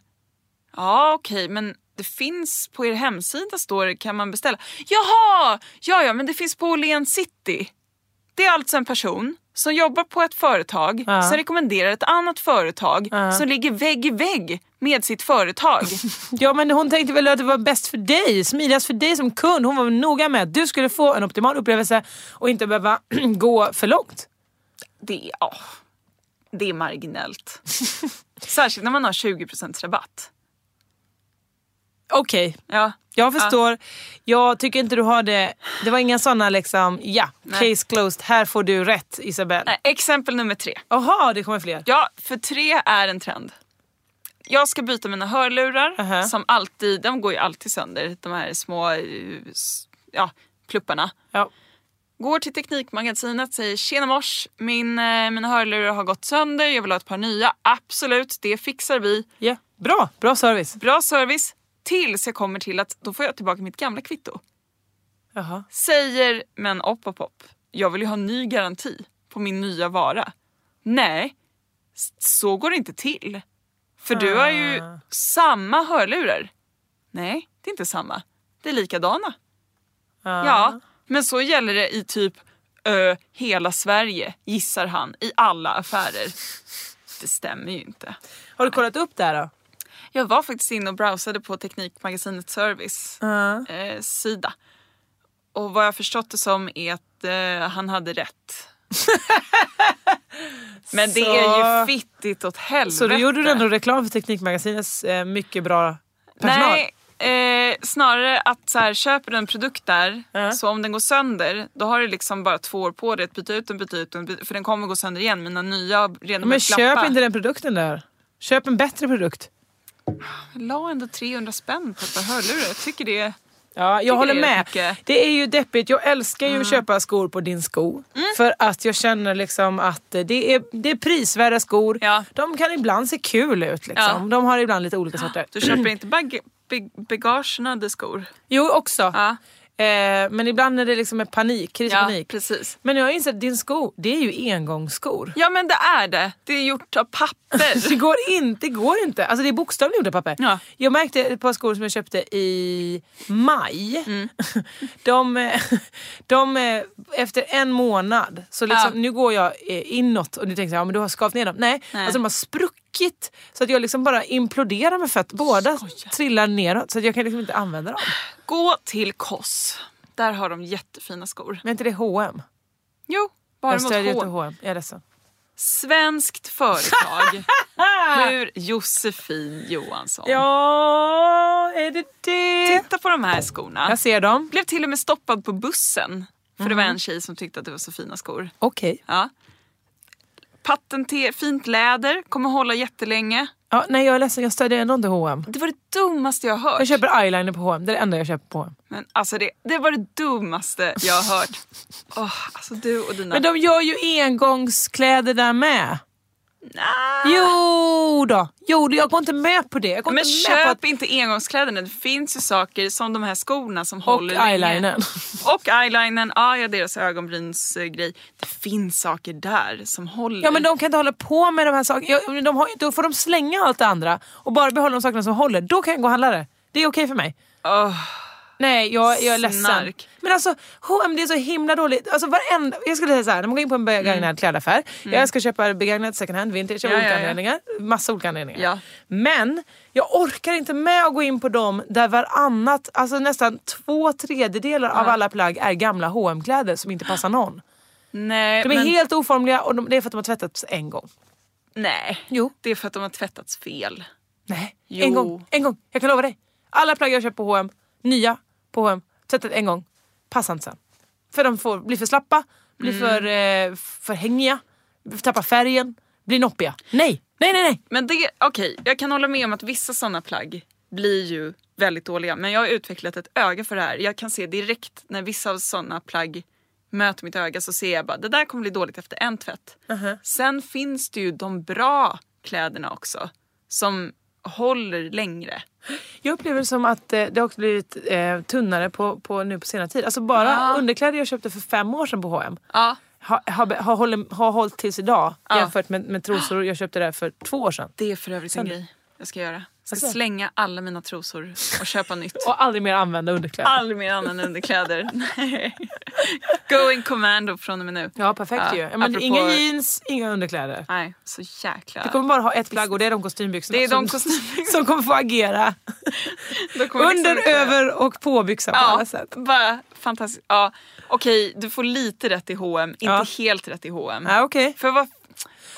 Speaker 7: Ja, okej, men det finns på er hemsida står det, kan man beställa. Jaha! Ja, ja, men det finns på Åhléns City. Det är alltså en person som jobbar på ett företag
Speaker 6: Ja.
Speaker 7: som rekommenderar ett annat företag som ligger vägg i vägg med sitt företag.
Speaker 6: Ja men hon tänkte väl att det var bäst för dig, smidigast för dig som kund. Hon var noga med att du skulle få en optimal upplevelse och inte behöva *clears throat* gå för långt.
Speaker 7: Det, ja, det är marginellt. Särskilt när man har 20% rabatt.
Speaker 6: Okej,
Speaker 7: ja.
Speaker 6: jag förstår. Jag tycker inte du har det. Det var inga sådana liksom, ja,
Speaker 7: Nej.
Speaker 6: case closed, här får du rätt Isabel.
Speaker 7: Nej, exempel nummer tre.
Speaker 6: Jaha, det kommer fler.
Speaker 7: Ja, för tre är en trend. Jag ska byta mina hörlurar som alltid, de går ju alltid sönder. De här små eh, s- ja, plupparna. Går till Teknikmagasinet, säger tjena mors, min, eh, mina hörlurar har gått sönder, jag vill ha ett par nya. Absolut, det fixar vi.
Speaker 6: Ja, Bra, bra service.
Speaker 7: Bra service. Tills jag kommer till att då får jag tillbaka mitt gamla kvitto.
Speaker 6: Jaha.
Speaker 7: Säger, men opp, opp, opp. Jag vill ju ha ny garanti på min nya vara. Nej, s- så går det inte till. För du har ju samma hörlurar. Nej, det är inte samma. Det är likadana. Ja, men så gäller det i typ ö, hela Sverige, gissar han, i alla affärer. Det stämmer ju inte.
Speaker 6: Har du kollat upp det här då?
Speaker 7: Jag var faktiskt inne och browsade på Teknikmagasinet Service
Speaker 6: Ja.
Speaker 7: eh, sida. Och vad jag förstått det som är att eh, han hade rätt. Men det är ju
Speaker 6: Så-
Speaker 7: fittigt åt helvete.
Speaker 6: Så då gjorde du ändå reklam för Teknikmagasinets eh, mycket bra personal.
Speaker 7: Nej, eh, snarare att så här, köper du en produkt där, så om den går sönder, då har du liksom bara två år på dig att byta ut den, byta ut den, by- för den kommer gå sönder igen. Mina nya redan
Speaker 6: Men köp inte den produkten där. Köp en bättre produkt.
Speaker 7: La ändå 300 spänn på ett par hörlurar. Jag tycker det är...
Speaker 6: Ja, jag
Speaker 7: tycker
Speaker 6: håller
Speaker 7: det är
Speaker 6: med.
Speaker 7: rätt mycket. Mm.
Speaker 6: Det är ju deppigt. Jag älskar ju att köpa skor på din sko. För att jag känner liksom att eh, det är, det är prisvärda skor. De kan ibland se kul ut. Liksom.
Speaker 7: Ja.
Speaker 6: De har ibland lite olika sorter.
Speaker 7: *gasps* Du köper inte bag- bag- bagagenade skor?
Speaker 6: Jo, också. Eh, men ibland är det liksom med panik, kris och
Speaker 7: Ja,
Speaker 6: panik. Precis. Men jag har insett att din sko, det är ju engångsskor.
Speaker 7: Ja men det är det. Det är gjort av
Speaker 6: *laughs*
Speaker 7: papper. *laughs*
Speaker 6: det går inte, det går inte. Alltså det är bokstavligen gjort av papper.
Speaker 7: Ja.
Speaker 6: Jag märkte ett par skor som jag köpte i maj.
Speaker 7: Mm.
Speaker 6: *laughs* De, eh, de, eh, efter en månad, så liksom,
Speaker 7: Ja.
Speaker 6: nu går jag eh, inåt och du tänker så här, ja, men du har skavt ner dem. Nej,
Speaker 7: Nej.
Speaker 6: Alltså, de har spruckit. Så att jag liksom bara imploderar med fett. Båda trillar neråt så att jag kan liksom inte använda dem.
Speaker 7: Gå till Koss. Där har de jättefina skor.
Speaker 6: Men är inte det H&M?
Speaker 7: Jo, bara
Speaker 6: jag stödjer
Speaker 7: mot
Speaker 6: inte
Speaker 7: H.
Speaker 6: H&M. Jag är ledsen.
Speaker 7: Svenskt
Speaker 6: *laughs*
Speaker 7: företag. Hur Josefin Johansson.
Speaker 6: Ja, är det det?
Speaker 7: Titta på de här skorna.
Speaker 6: Jag ser dem.
Speaker 7: Blev till och med stoppad på bussen. För det var
Speaker 6: Mhm.
Speaker 7: en tjej som tyckte att det var så fina skor.
Speaker 6: Okej.
Speaker 7: Ja. Patenter, fint läder, kommer hålla jättelänge.
Speaker 6: Ja, nej jag är ledsen, jag stödjer ändå inte H&M.
Speaker 7: Det var det dummaste jag har hört.
Speaker 6: Jag köper eyeliner på H&M. det är det enda jag köper på H&M.
Speaker 7: Men alltså det, det var det dummaste jag har
Speaker 6: *laughs*
Speaker 7: hört. Åh, alltså du och dina...
Speaker 6: Men de gör ju engångskläder där med. Jo då, jo då, jag går inte med på det. Jag går
Speaker 7: men
Speaker 6: inte med på att...
Speaker 7: köp inte engångskläderna. Det finns ju saker som de här skorna som
Speaker 6: Och
Speaker 7: håller länge.
Speaker 6: eyelinern.
Speaker 7: Och eyelinern. Ah, ja, deras ögonbrynsgrej. Det finns saker där som håller.
Speaker 6: Ja men de kan inte hålla på med de här sakerna. Ja, men De har, ju- då får de slänga allt det andra och bara behålla de sakerna som håller. Då kan jag gå och handla det. Det är okej för mig. Nej, jag, jag är ledsen.
Speaker 7: Snark.
Speaker 6: Men alltså H&M det är så himla dåligt. Alltså varenda, jag skulle säga så här, när man går in på en begagnad klädaffär.
Speaker 7: Mm.
Speaker 6: Jag ska köpa begagnat second hand, vintage av
Speaker 7: Ja,
Speaker 6: olika
Speaker 7: ja, ja.
Speaker 6: anledningar. Massa olika anledningar. Men jag orkar inte med att gå in på dem där varannat, alltså nästan två tredjedelar av alla plagg är gamla hm kläder som inte passar någon.
Speaker 7: Nej,
Speaker 6: De är
Speaker 7: Eh, men-
Speaker 6: helt oformliga och de, det är för att de har tvättats en gång.
Speaker 7: Nej,
Speaker 6: jo.
Speaker 7: det är för att de har tvättats fel.
Speaker 6: Nej,
Speaker 7: Jo.
Speaker 6: en gång. En gång. Jag kan lova dig. Alla plagg jag köpt på H&M, nya på H&M, tvättat en gång, passar inte sen. För de får, blir för slappa, blir
Speaker 7: Mm.
Speaker 6: för, eh, för hängiga, tappar färgen, blir noppiga. Nej, nej, nej. nej.
Speaker 7: Men det, okej, jag kan hålla med om att vissa sådana plagg blir ju väldigt dåliga. Men jag har utvecklat ett öga för det här. Jag kan se direkt när vissa av sådana plagg möter mitt öga så ser jag bara det där kommer bli dåligt efter en tvätt.
Speaker 6: Uh-huh.
Speaker 7: Sen finns det ju de bra kläderna också som håller längre.
Speaker 6: Jag upplever det som att eh, det har också blivit eh, tunnare på, på, nu på senare tid. Alltså bara
Speaker 7: Ja.
Speaker 6: underkläder jag köpte för fem år sedan på H&M
Speaker 7: Ja.
Speaker 6: har ha, ha, ha, hållit- har hållit tills idag
Speaker 7: Ja.
Speaker 6: jämfört med, med trosor jag köpte där för två år sedan.
Speaker 7: Det är för övrigt en
Speaker 6: Sen-
Speaker 7: grej jag ska göra. Jag ska
Speaker 6: Alltså.
Speaker 7: slänga alla mina trosor och köpa nytt.
Speaker 6: *laughs* Och aldrig mer använda underkläder.
Speaker 7: Aldrig mer *laughs* använda underkläder. Nej. Going commando från och med nu.
Speaker 6: Ja, perfekt
Speaker 7: Ah,
Speaker 6: ju. Ja, men inga jeans, inga underkläder.
Speaker 7: Nej, så jäkla...
Speaker 6: Du kommer alltså- bara ha ett plagg och det är de kostymbyxorna.
Speaker 7: Ah, Det är de
Speaker 6: som,
Speaker 7: kostymbyxorna.
Speaker 6: *laughs* som kommer få agera.
Speaker 7: Då kommer liksom
Speaker 6: Under,
Speaker 7: inte-
Speaker 6: över och påbyxa på
Speaker 7: Ja,
Speaker 6: alla sätt.
Speaker 7: bara fantastiskt. Ja, okej, du får lite rätt i H&M, inte helt rätt i H&M.
Speaker 6: Ja, okay.
Speaker 7: För vad,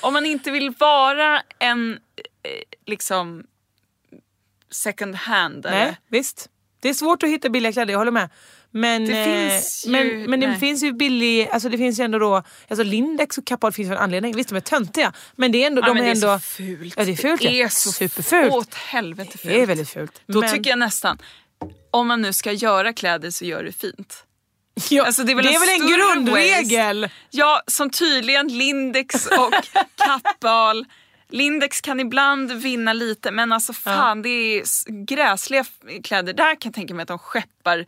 Speaker 7: om man inte vill vara en eh, liksom second hand.
Speaker 6: Nej, visst. Det är svårt att hitta billiga kläder, jag håller med. Men eh,
Speaker 7: Det finns ju-
Speaker 6: men, men det
Speaker 7: nej.
Speaker 6: finns ju billig, alltså det finns ju ändå då, alltså Lindex och Kappahl finns för en anledning. Visst de är töntiga men det är ändå,
Speaker 7: Ja,
Speaker 6: de
Speaker 7: men
Speaker 6: är
Speaker 7: det är
Speaker 6: ändå...
Speaker 7: så fult.
Speaker 6: Ja det är fult.
Speaker 7: Det
Speaker 6: ja.
Speaker 7: är så
Speaker 6: Superfult.
Speaker 7: åt helvete fult.
Speaker 6: Det är väldigt fult.
Speaker 7: Då
Speaker 6: Men-
Speaker 7: tycker jag nästan, om man nu ska göra kläder så gör det fint.
Speaker 6: Ja,
Speaker 7: Alltså,
Speaker 6: det är väl en
Speaker 7: större
Speaker 6: grundregel?
Speaker 7: waste. Ja, som tydligen Lindex och Kappahl. Lindex kan ibland vinna lite men alltså fan det är s- gräsliga f- kläder. Där kan jag tänka mig att de skeppar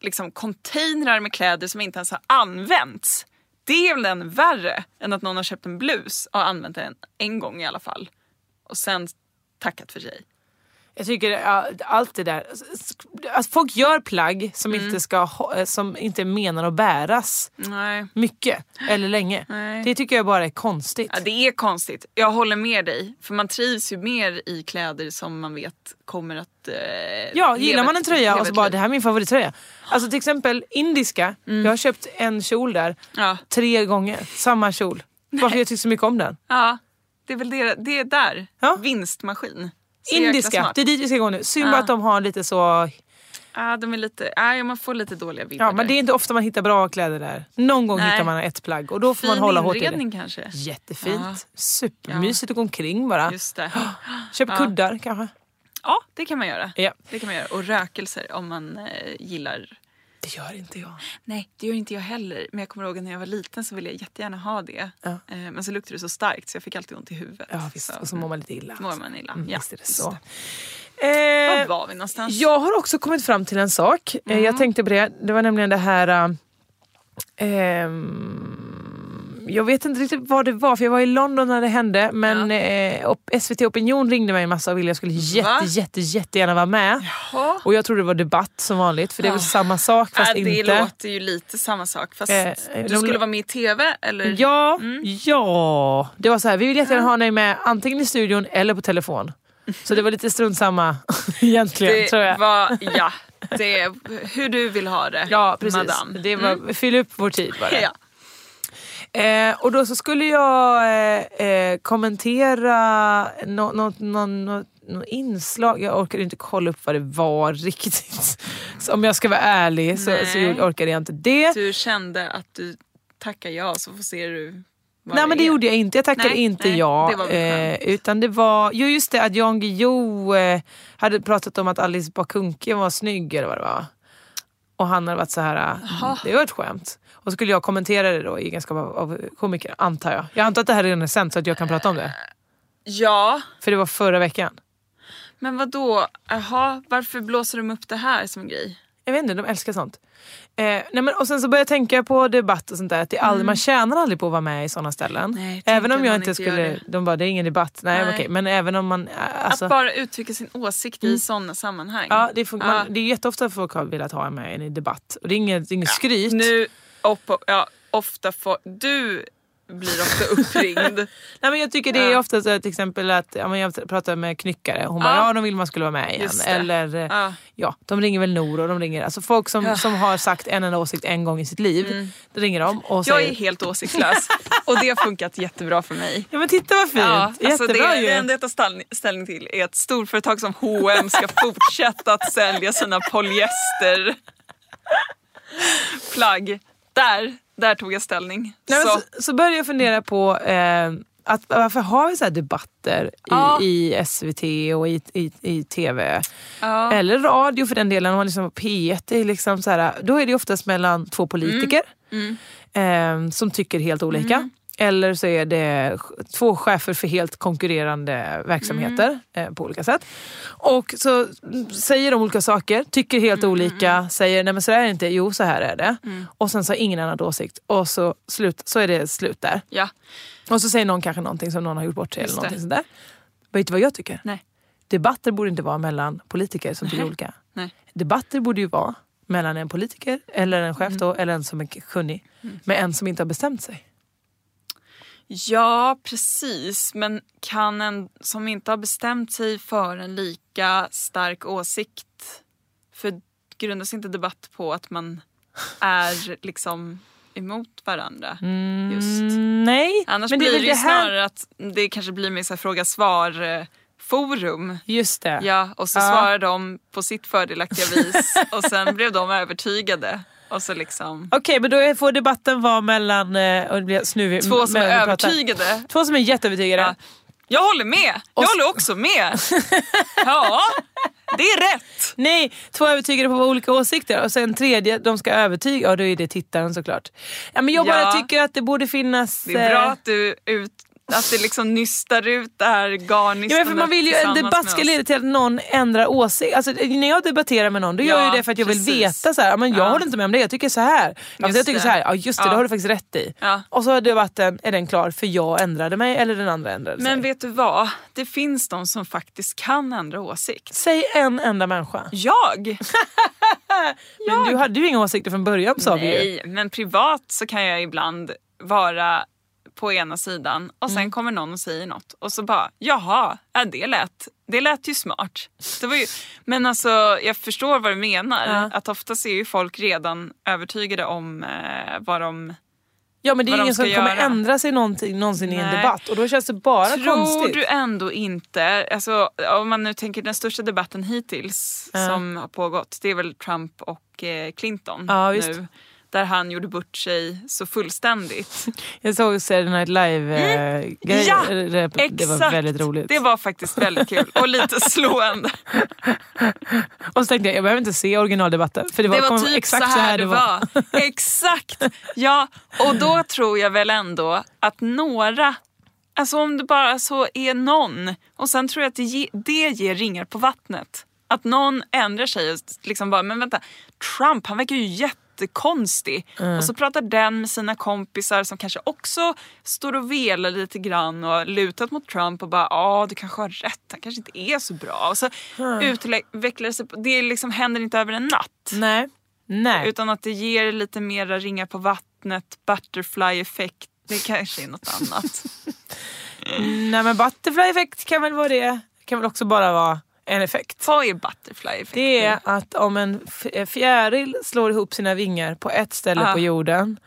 Speaker 7: liksom containrar med kläder som inte ens har använts. Det är väl än värre än att någon har köpt en blus och använt den en gång i alla fall. Och sen tackat för sig.
Speaker 6: Jag tycker ja, allt det där. Alltså, folk gör plagg som,
Speaker 7: Mm.
Speaker 6: inte ska ha, som inte är menade att bäras
Speaker 7: Nej.
Speaker 6: mycket eller länge.
Speaker 7: Nej.
Speaker 6: Det tycker jag bara är konstigt.
Speaker 7: Ja, det är konstigt. Jag håller med dig. För man trivs ju mer i kläder som man vet kommer att... Eh,
Speaker 6: Ja,
Speaker 7: leva
Speaker 6: gillar man en
Speaker 7: ett-
Speaker 6: tröja
Speaker 7: leva
Speaker 6: och så
Speaker 7: ett
Speaker 6: bara
Speaker 7: liv.
Speaker 6: det här är min favorittröja. Alltså till exempel indiska.
Speaker 7: Mm.
Speaker 6: Jag har köpt en kjol där
Speaker 7: Ja.
Speaker 6: tre gånger. Samma kjol. Bara för jag tyckte så mycket om den.
Speaker 7: Ja, det är väl det, det är där. Vinstmaskin. Så jäkla
Speaker 6: indiska,
Speaker 7: smart.
Speaker 6: det är dit vi ska gå nu. Synd
Speaker 7: Ja.
Speaker 6: bara att de har lite så...
Speaker 7: Ja, de är lite, ja, man får lite dåliga vibbar.
Speaker 6: Ja, men det är inte ofta man hittar bra kläder där. Någon gång
Speaker 7: Nej.
Speaker 6: hittar man ett plagg och då får
Speaker 7: Fin
Speaker 6: man hålla hårt i
Speaker 7: inredning
Speaker 6: det.
Speaker 7: kanske.
Speaker 6: Jättefint.
Speaker 7: Ja.
Speaker 6: Supermysigt att gå omkring bara.
Speaker 7: Just det.
Speaker 6: *gasps* Köp
Speaker 7: Ja.
Speaker 6: kuddar kanske.
Speaker 7: Ja, det kan man göra.
Speaker 6: Ja.
Speaker 7: Det kan man göra. Och rökelser om man eh, gillar...
Speaker 6: Det gör inte jag.
Speaker 7: Nej, det gör inte jag heller. Men jag kommer ihåg att när jag var liten så ville jag jättegärna ha det.
Speaker 6: Ja.
Speaker 7: Eh, men så luktade det så starkt så jag fick alltid ont i huvudet.
Speaker 6: Ja, visst. Och så mår man lite illa.
Speaker 7: Mår man illa.
Speaker 6: Mm,
Speaker 7: ja,
Speaker 6: visst är det
Speaker 7: just
Speaker 6: så.
Speaker 7: Var
Speaker 6: Eh,
Speaker 7: var vi någonstans? Mm.
Speaker 6: Jag har också kommit fram till en sak. Eh, Jag tänkte på det. Det var nämligen det här... eh, ehm, jag vet inte riktigt vad det var, för jag var i London när det hände. Men eh, op- SVT Opinion ringde mig en massa och ville jag skulle jätte, jätte, jättegärna vara med.
Speaker 7: Jaha.
Speaker 6: Och jag trodde det var debatt som vanligt, för det är väl
Speaker 7: Ja.
Speaker 6: samma sak fast
Speaker 7: Äh, det
Speaker 6: inte.
Speaker 7: låter ju lite samma sak. Fast
Speaker 6: Eh,
Speaker 7: du
Speaker 6: de-
Speaker 7: skulle vara med i TV eller?
Speaker 6: Ja,
Speaker 7: Mm.
Speaker 6: ja. Det var så här, vi vill jättegärna ha dig med antingen i studion eller på telefon. Så det var lite strunt samma *laughs* egentligen
Speaker 7: det
Speaker 6: tror jag. *laughs*
Speaker 7: Var, ja, det är hur du vill ha det.
Speaker 6: Ja, precis.
Speaker 7: Madame.
Speaker 6: Det var,
Speaker 7: Mm.
Speaker 6: Fyll upp vår tid bara.
Speaker 7: Ja.
Speaker 6: Eh, och då så skulle jag eh, eh, kommentera något nå, nå, nå, nå inslag. Jag orkade inte kolla upp vad det var *laughs* riktigt. Så om jag ska vara ärlig så, så
Speaker 7: Nej.
Speaker 6: orkade jag inte det.
Speaker 7: Du kände att du tackar ja så får se du vad
Speaker 6: Nej men det
Speaker 7: är.
Speaker 6: gjorde jag inte. Jag tackade
Speaker 7: Nej,
Speaker 6: inte
Speaker 7: nej,
Speaker 6: ja.
Speaker 7: det var väl
Speaker 6: eh, utan det var, jo just det att Jan Guillou eh, hade pratat om att Alice Bah Kuhnke var snygg eller vad det var. Och han hade varit så här, eh,
Speaker 7: Jaha.
Speaker 6: det var ett skämt. Och så skulle jag kommentera det då i egenskap av, av komiker, antar jag. Jag antar att det här redan är sänt så att jag kan prata om det.
Speaker 7: Ja,
Speaker 6: För det var förra veckan.
Speaker 7: men vad då? Jaha, varför blåser de upp det här som grej?
Speaker 6: Jag vet inte, de älskar sånt. Eh, nej men, och sen så började jag tänka på debatt och sånt där. Att det är aldrig,
Speaker 7: Mm.
Speaker 6: Man tjänar aldrig på att vara med i sådana ställen.
Speaker 7: Nej, tänk
Speaker 6: även om
Speaker 7: att
Speaker 6: jag
Speaker 7: man
Speaker 6: inte
Speaker 7: inte gör
Speaker 6: skulle...
Speaker 7: det.
Speaker 6: De bara, det är ingen debatt. Nej,
Speaker 7: Nej.
Speaker 6: okej. Men även om man... eh, Alltså, Mm.
Speaker 7: Att bara uttrycka sin åsikt i sådana sammanhang.
Speaker 6: Ja, det, fun- man, det är jätteofta folk har velat ha mig i en debatt. Och det är inget, det är inget skryt.
Speaker 7: Nu, op- ja, ofta får... Du blir
Speaker 6: *laughs*
Speaker 7: ofta uppringd.
Speaker 6: Nej, men jag tycker det är ofta så här, till exempel att ja, men jag pratar med knyckare. Hon bara,
Speaker 7: Ja.
Speaker 6: ja de vill man skulle vara med igen.
Speaker 7: Just det.
Speaker 6: Eller eh,
Speaker 7: Ja.
Speaker 6: ja, de ringer väl Nor och de ringer. Alltså folk som,
Speaker 7: Ja.
Speaker 6: som har sagt en enda åsikt en gång i sitt liv.
Speaker 7: Mm.
Speaker 6: Då ringer de och
Speaker 7: Jag
Speaker 6: säger...
Speaker 7: är helt åsiktslös *laughs* och det har funkat jättebra för mig.
Speaker 6: Ja men titta vad fint!
Speaker 7: alltså
Speaker 6: Jättebra
Speaker 7: det,
Speaker 6: ju!
Speaker 7: det enda jag tar ställning, ställning till är att storföretag som H&M ska fortsätta att sälja sina polyesterplagg. Där, där tog jag ställning.
Speaker 6: Nej, men
Speaker 7: så,
Speaker 6: så, så började jag fundera på eh, att, varför har vi så här debatter i,
Speaker 7: Ja.
Speaker 6: i SVT och i, i, i TV?
Speaker 7: Ja.
Speaker 6: Eller radio för den delen, om man liksom på P1. det Är liksom så här, då är det oftast mellan två politiker
Speaker 7: Mm.
Speaker 6: eh, som tycker helt olika. Eller så är det ch- två chefer för helt konkurrerande verksamheter
Speaker 7: Mm.
Speaker 6: eh, på olika sätt. Och så mm, säger de olika saker, tycker helt
Speaker 7: Mm.
Speaker 6: olika, säger nej men så där är det inte, jo så här är det. Och sen så har ingen annan åsikt och så, slut, så är det slut där.
Speaker 7: ja.
Speaker 6: Och så säger någon kanske någonting som någon har gjort bort sig eller
Speaker 7: Just det.
Speaker 6: någonting sånt där. Vet du vad jag tycker?
Speaker 7: Nej.
Speaker 6: Debatter borde inte vara mellan politiker som tycker
Speaker 7: Nej.
Speaker 6: olika.
Speaker 7: Nej.
Speaker 6: Debatter borde ju vara mellan en politiker eller en
Speaker 7: Mm.
Speaker 6: chef då, eller en som är kunnig med en som inte har bestämt sig.
Speaker 7: ja, precis. Men kan en som inte har bestämt sig för en lika stark åsikt... För grundas inte debatt på att man är liksom emot varandra? Just.
Speaker 6: Nej,
Speaker 7: Annars
Speaker 6: men det
Speaker 7: blir
Speaker 6: är
Speaker 7: det,
Speaker 6: väl
Speaker 7: ju
Speaker 6: det här-
Speaker 7: snarare att det kanske blir mer så här fråga-svar-forum.
Speaker 6: Just det.
Speaker 7: Ja, och så
Speaker 6: Ja.
Speaker 7: svarar de på sitt fördelaktiga vis och sen blev de övertygade. Och så liksom...
Speaker 6: Okej, men då är- får debatten vara mellan... eh, Och det blir snuvig,
Speaker 7: Två som är
Speaker 6: mellan att prata.
Speaker 7: övertygade.
Speaker 6: Två som är jätteövertygade.
Speaker 7: Jag håller med! Jag håller också med! Ja, det är rätt!
Speaker 6: Nej, två övertygade på olika åsikter och sen tredje, de ska övertyga. Ja, då är det tittaren såklart. Ja, men jag bara
Speaker 7: Ja.
Speaker 6: tycker att det borde finnas...
Speaker 7: Det är bra
Speaker 6: eh,
Speaker 7: att du, ut, att du liksom nystar ut det här garnistandet
Speaker 6: Ja, men för man vill ju, en
Speaker 7: tillsammans
Speaker 6: debatt
Speaker 7: med
Speaker 6: ska
Speaker 7: oss.
Speaker 6: leda till att någon ändrar åsikt. Alltså, när jag debatterar med någon då gör
Speaker 7: Ja,
Speaker 6: jag ju det för att jag vill
Speaker 7: precis.
Speaker 6: veta. Så här, "Ja, men jag håller inte med om det, jag tycker så här. Ja, fast
Speaker 7: Just
Speaker 6: jag tycker
Speaker 7: det.
Speaker 6: så här. Ja, just det,
Speaker 7: Ja.
Speaker 6: det har du faktiskt rätt i.
Speaker 7: Ja.
Speaker 6: Och så är debatten är den klar för jag ändrade mig eller den andra ändrade sig.
Speaker 7: Men vet du vad? Det finns de som faktiskt kan ändra åsikt.
Speaker 6: Säg en enda människa.
Speaker 7: Jag!
Speaker 6: Men du hade ju inga åsikter från början sa vi ju.
Speaker 7: Nej, men privat så kan jag ibland vara på ena sidan och
Speaker 6: Mm.
Speaker 7: sen kommer någon och säger något och så bara jaha, ja, det, lät, det lät ju smart. Det var ju, men alltså jag förstår vad du menar.
Speaker 6: Ja.
Speaker 7: Att oftast är ju folk redan övertygade om eh, vad de
Speaker 6: Ja men det är
Speaker 7: vad de
Speaker 6: ju ingen
Speaker 7: ska
Speaker 6: som kommer
Speaker 7: göra.
Speaker 6: ändra sig någonting, någonsin i en
Speaker 7: Nej.
Speaker 6: debatt och då känns det bara
Speaker 7: Tror
Speaker 6: konstigt.
Speaker 7: du ändå inte, alltså, om man nu tänker den största debatten hittills
Speaker 6: Ja.
Speaker 7: som har pågått, det är väl Trump och eh, Clinton
Speaker 6: Ja, visst.
Speaker 7: nu. Där han gjorde bort sig så fullständigt.
Speaker 6: Jag såg Saturday Night Live-grejen.
Speaker 7: Mm. Ja,
Speaker 6: det, det var
Speaker 7: exakt.
Speaker 6: väldigt roligt.
Speaker 7: Det var faktiskt väldigt kul och
Speaker 6: *laughs*
Speaker 7: lite slående.
Speaker 6: Och så tänkte jag, jag behöver inte se originaldebatten. För det var,
Speaker 7: det var
Speaker 6: kom
Speaker 7: typ
Speaker 6: exakt
Speaker 7: så här, det var. *laughs* exakt! Ja, och då tror jag väl ändå att några, alltså om det bara så är någon, och sen tror jag att det, ge, det ger ringar på vattnet. Att någon ändrar sig och liksom bara, men vänta, Trump han verkar ju jättekonstig.
Speaker 6: Mm.
Speaker 7: Och så pratar den med sina kompisar som kanske också står och velar lite grann och har lutat mot Trump och bara, ja du kanske har rätt, han kanske inte är så bra. Och så
Speaker 6: Mm.
Speaker 7: utvecklar det sig, på- det liksom händer inte över en natt.
Speaker 6: Nej. Nej.
Speaker 7: Utan att det ger lite mera ringar på vattnet, butterfly-effekt. Det kanske är något annat.
Speaker 6: *laughs* Nej men butterfly effekt kan väl vara det. Kan väl också bara vara en effekt.
Speaker 7: Vad är butterfly effekt?
Speaker 6: Det är att om en f- eh, fjäril slår ihop sina vingar på ett ställe
Speaker 7: Ah.
Speaker 6: på jorden.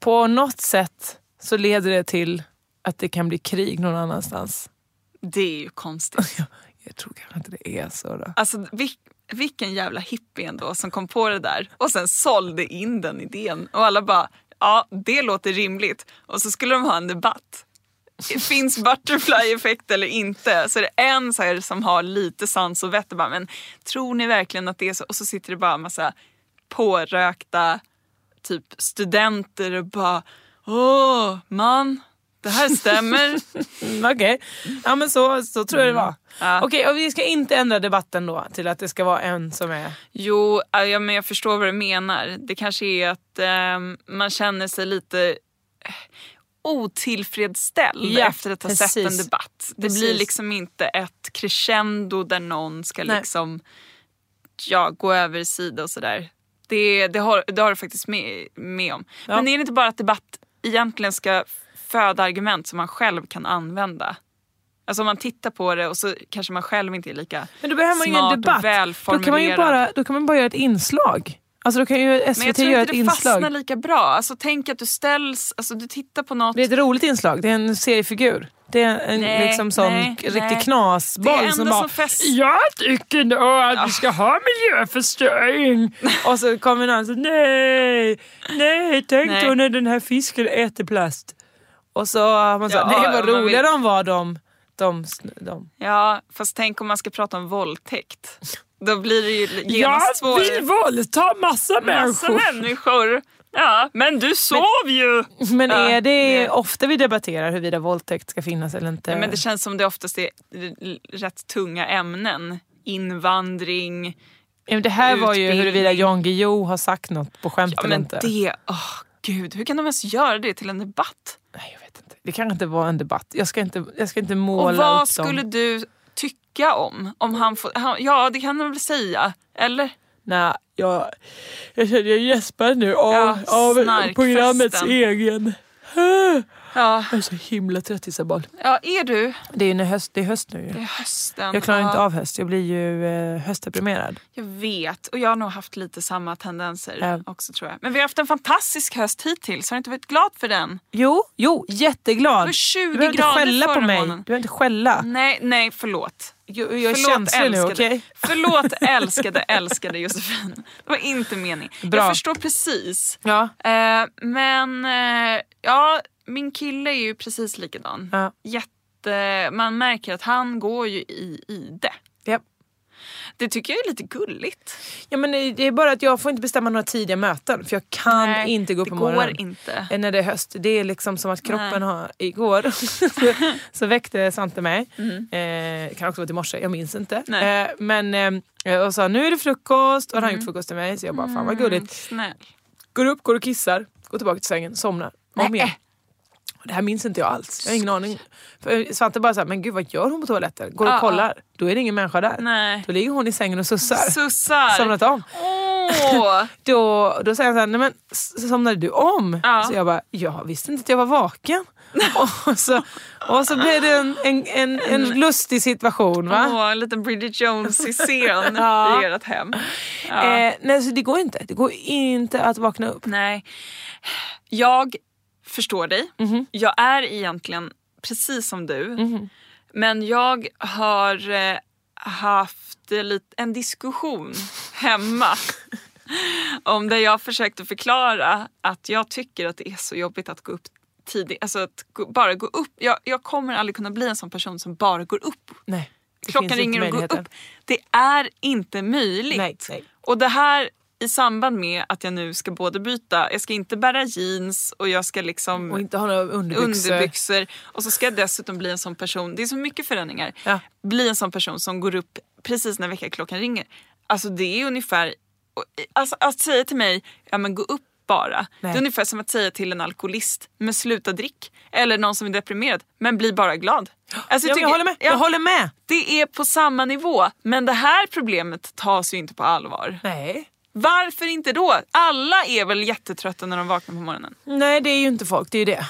Speaker 6: På något sätt så leder det till att det kan bli krig någon annanstans.
Speaker 7: Det är ju
Speaker 6: *laughs*
Speaker 7: konstigt.
Speaker 6: Jag tror kanske inte det är så då.
Speaker 7: Alltså, vil- vilken jävla hippie ändå som kom på det där och sen sålde in den idén. Och alla bara, ja det låter rimligt. Och så skulle de ha en debatt. Finns butterfly-effekt eller inte? Så är det en så här som har lite sans och vett och bara, men tror ni verkligen att det är så? Och så sitter det bara en massa pårökta typ studenter och bara, åh man, det här stämmer.
Speaker 6: Mm, Okej, ja, men så, så tror jag det var. Okej, och vi ska inte ändra debatten då till att det ska vara en som är...
Speaker 7: Jo, äh, ja, men jag förstår vad du menar. Det kanske är att ehm, man känner sig lite eh, otillfredsställd
Speaker 6: Ja,
Speaker 7: efter att ha sett en
Speaker 6: precis.
Speaker 7: debatt. Det
Speaker 6: Precis.
Speaker 7: blir liksom inte ett crescendo där någon ska
Speaker 6: Nej.
Speaker 7: liksom ja, gå över sida och sådär. Det, det, har, det har du faktiskt med, med om.
Speaker 6: Ja.
Speaker 7: Men är det inte bara att debatt egentligen ska föda argument som man själv kan använda? Alltså om man tittar på det och så kanske man själv inte är lika
Speaker 6: Men då behöver man ju
Speaker 7: smart
Speaker 6: ingen
Speaker 7: och
Speaker 6: debatt. Då kan, man ju
Speaker 7: välformulerad.
Speaker 6: bara, då kan man bara göra ett inslag. Alltså då kan ju
Speaker 7: Men jag
Speaker 6: SVT
Speaker 7: tror
Speaker 6: göra ett
Speaker 7: inte det
Speaker 6: inslag.
Speaker 7: fastnar lika bra. Alltså, tänk att du ställs, alltså, du tittar på något.
Speaker 6: Det är ett roligt inslag, det är en seriefigur. Det är en
Speaker 7: Nej,
Speaker 6: liksom sån
Speaker 7: nej,
Speaker 6: riktig
Speaker 7: nej. Det är
Speaker 6: knasboll
Speaker 7: ändå
Speaker 6: som bara...
Speaker 7: som fest-
Speaker 6: Jag tycker nog att vi ska ha
Speaker 7: *laughs*
Speaker 6: miljöförstöring. och så kommer någon så nej, nej, tänk
Speaker 7: Nej.
Speaker 6: då när den här fisken äter plast. Och så har man så
Speaker 7: Ja,
Speaker 6: nej vad
Speaker 7: om man
Speaker 6: roliga
Speaker 7: vill-
Speaker 6: de var de. de, sn- de.
Speaker 7: Ja, fast tänk om man ska prata om våldtäkt. Då blir det ju genast svårare.
Speaker 6: våldta massa
Speaker 7: Massa människor. Ja, men du sov ju!
Speaker 6: Men
Speaker 7: Ja,
Speaker 6: är det ofta vi debatterar huruvida våldtäkt ska finnas eller inte?
Speaker 7: Nej, men det känns som det oftast är r- r- rätt tunga ämnen. Invandring.
Speaker 6: Ja, men det här var ju
Speaker 7: utbildning.
Speaker 6: huruvida Jan Guillou har sagt något på skämt
Speaker 7: Ja,
Speaker 6: eller
Speaker 7: men
Speaker 6: inte.
Speaker 7: det... Åh, gud. Hur kan de ens göra det till en debatt?
Speaker 6: Det kanske inte var en debatt. Jag ska inte, jag ska inte måla
Speaker 7: Och vad
Speaker 6: upp dem.
Speaker 7: skulle du tycka om? om han får, han, ja, det kan han väl säga. Eller?
Speaker 6: Nej, jag, jag känner jag gäspar nu av,
Speaker 7: Ja,
Speaker 6: av
Speaker 7: snarkfesten.
Speaker 6: programmets egen...
Speaker 7: Ja.
Speaker 6: Jag är så himla trött Isabel.
Speaker 7: Ja, är du?
Speaker 6: Det är, ju när höst, det är höst nu ju.
Speaker 7: Det är hösten.
Speaker 6: Jag klarar
Speaker 7: Ja,
Speaker 6: inte av höst. Jag blir ju eh, höstdeprimerad.
Speaker 7: Jag vet. Och jag har nog haft lite samma tendenser
Speaker 6: Ja.
Speaker 7: också tror jag. Men vi har haft en fantastisk höst hittills. Har du inte varit glad för den?
Speaker 6: Jo, jo, jätteglad.
Speaker 7: Det var 20
Speaker 6: du behöver inte
Speaker 7: grader
Speaker 6: skälla på
Speaker 7: förra
Speaker 6: mig.
Speaker 7: månaden. Mm.
Speaker 6: Du behöver inte skälla.
Speaker 7: Nej, nej, förlåt.
Speaker 6: Jag, jag är känslig nu, okej? *laughs*
Speaker 7: Förlåt älskade, älskade Josefin. Det var inte meningen.
Speaker 6: Bra.
Speaker 7: Jag förstår precis.
Speaker 6: Ja.
Speaker 7: Eh, men eh, ja, min kille är ju precis likadan. Jätte, man märker att han går ju i ide.
Speaker 6: Japp.
Speaker 7: Det tycker jag är lite gulligt.
Speaker 6: Ja, men det det är bara att jag får inte bestämma några tidiga möten för jag kan inte gå upp på
Speaker 7: det
Speaker 6: morgonen.
Speaker 7: går inte.
Speaker 6: Eh, När det är höst. Det är liksom som att kroppen
Speaker 7: Nej.
Speaker 6: har... Igår *laughs* så väckte Svante mig. Eh, det kan också vara till morse, jag minns inte.
Speaker 7: Mm. Nej.
Speaker 6: Eh, men, eh, och sa nu är det frukost och han har
Speaker 7: Mm.
Speaker 6: gjort frukost till mig så jag bara fan vad
Speaker 7: Mm,
Speaker 6: gulligt.
Speaker 7: snäll.
Speaker 6: Går upp, går och kissar, går tillbaka till sängen, somnar. Om igen. Och Det här minns inte jag alls. Jag har ingen aning. För Svante bara såhär, men gud vad gör hon på toaletten? Går och
Speaker 7: Ja, ja.
Speaker 6: kollar. Då är det ingen människa där.
Speaker 7: Nej.
Speaker 6: Då ligger hon i sängen och sussar.
Speaker 7: Sussar.
Speaker 6: Somnat om.
Speaker 7: Åh.
Speaker 6: då, då säger han såhär, nej men s- somnade du om?
Speaker 7: Ja.
Speaker 6: Så jag bara, jag visste inte att jag
Speaker 7: *laughs*
Speaker 6: var vaken. och, så, och så blev det en, en, en, en lustig situation. *laughs* Va?
Speaker 7: Mm. Åh, en liten Bridget Jones-scen
Speaker 6: *laughs* Ja.
Speaker 7: i ert hem.
Speaker 6: Eh, nej, så det går inte. Det går inte att vakna upp.
Speaker 7: Nej. Jag förstår dig.
Speaker 6: Mhm.
Speaker 7: Jag är egentligen precis som du. Men jag har eh, haft eh, lit- en
Speaker 6: *laughs*
Speaker 7: diskussion hemma om det jag försökte förklara att jag tycker att det är så jobbigt att gå upp tidigt. Alltså att gå, bara gå upp. Jag, jag kommer aldrig kunna bli en sån person som bara går upp.
Speaker 6: Nej, det
Speaker 7: Klockan
Speaker 6: finns inte
Speaker 7: ringer och går
Speaker 6: möjligheten.
Speaker 7: upp. Det är inte möjligt. Och det här i samband med att jag nu ska både byta, jag ska inte bära jeans och jag ska liksom
Speaker 6: Och inte ha några underbyxor.
Speaker 7: underbyxor. Och så ska jag dessutom bli en sån person, det är så mycket förändringar, bli en sån person som går upp precis när väckarklockan ringer. Alltså det är ungefär, och- alltså att säga till mig, ja men gå upp bara.
Speaker 6: Nej.
Speaker 7: Det är ungefär som att säga till en alkoholist, men sluta drick. Eller någon som är deprimerad, men bli bara glad. Alltså,
Speaker 6: Ja, men jag håller med. Jag håller med.
Speaker 7: Det är på samma nivå, men det här problemet tas ju inte på allvar.
Speaker 6: Nej.
Speaker 7: Varför inte då? Alla är väl jättetrötta när de vaknar på morgonen?
Speaker 6: Nej, det är ju inte folk. Det är ju det.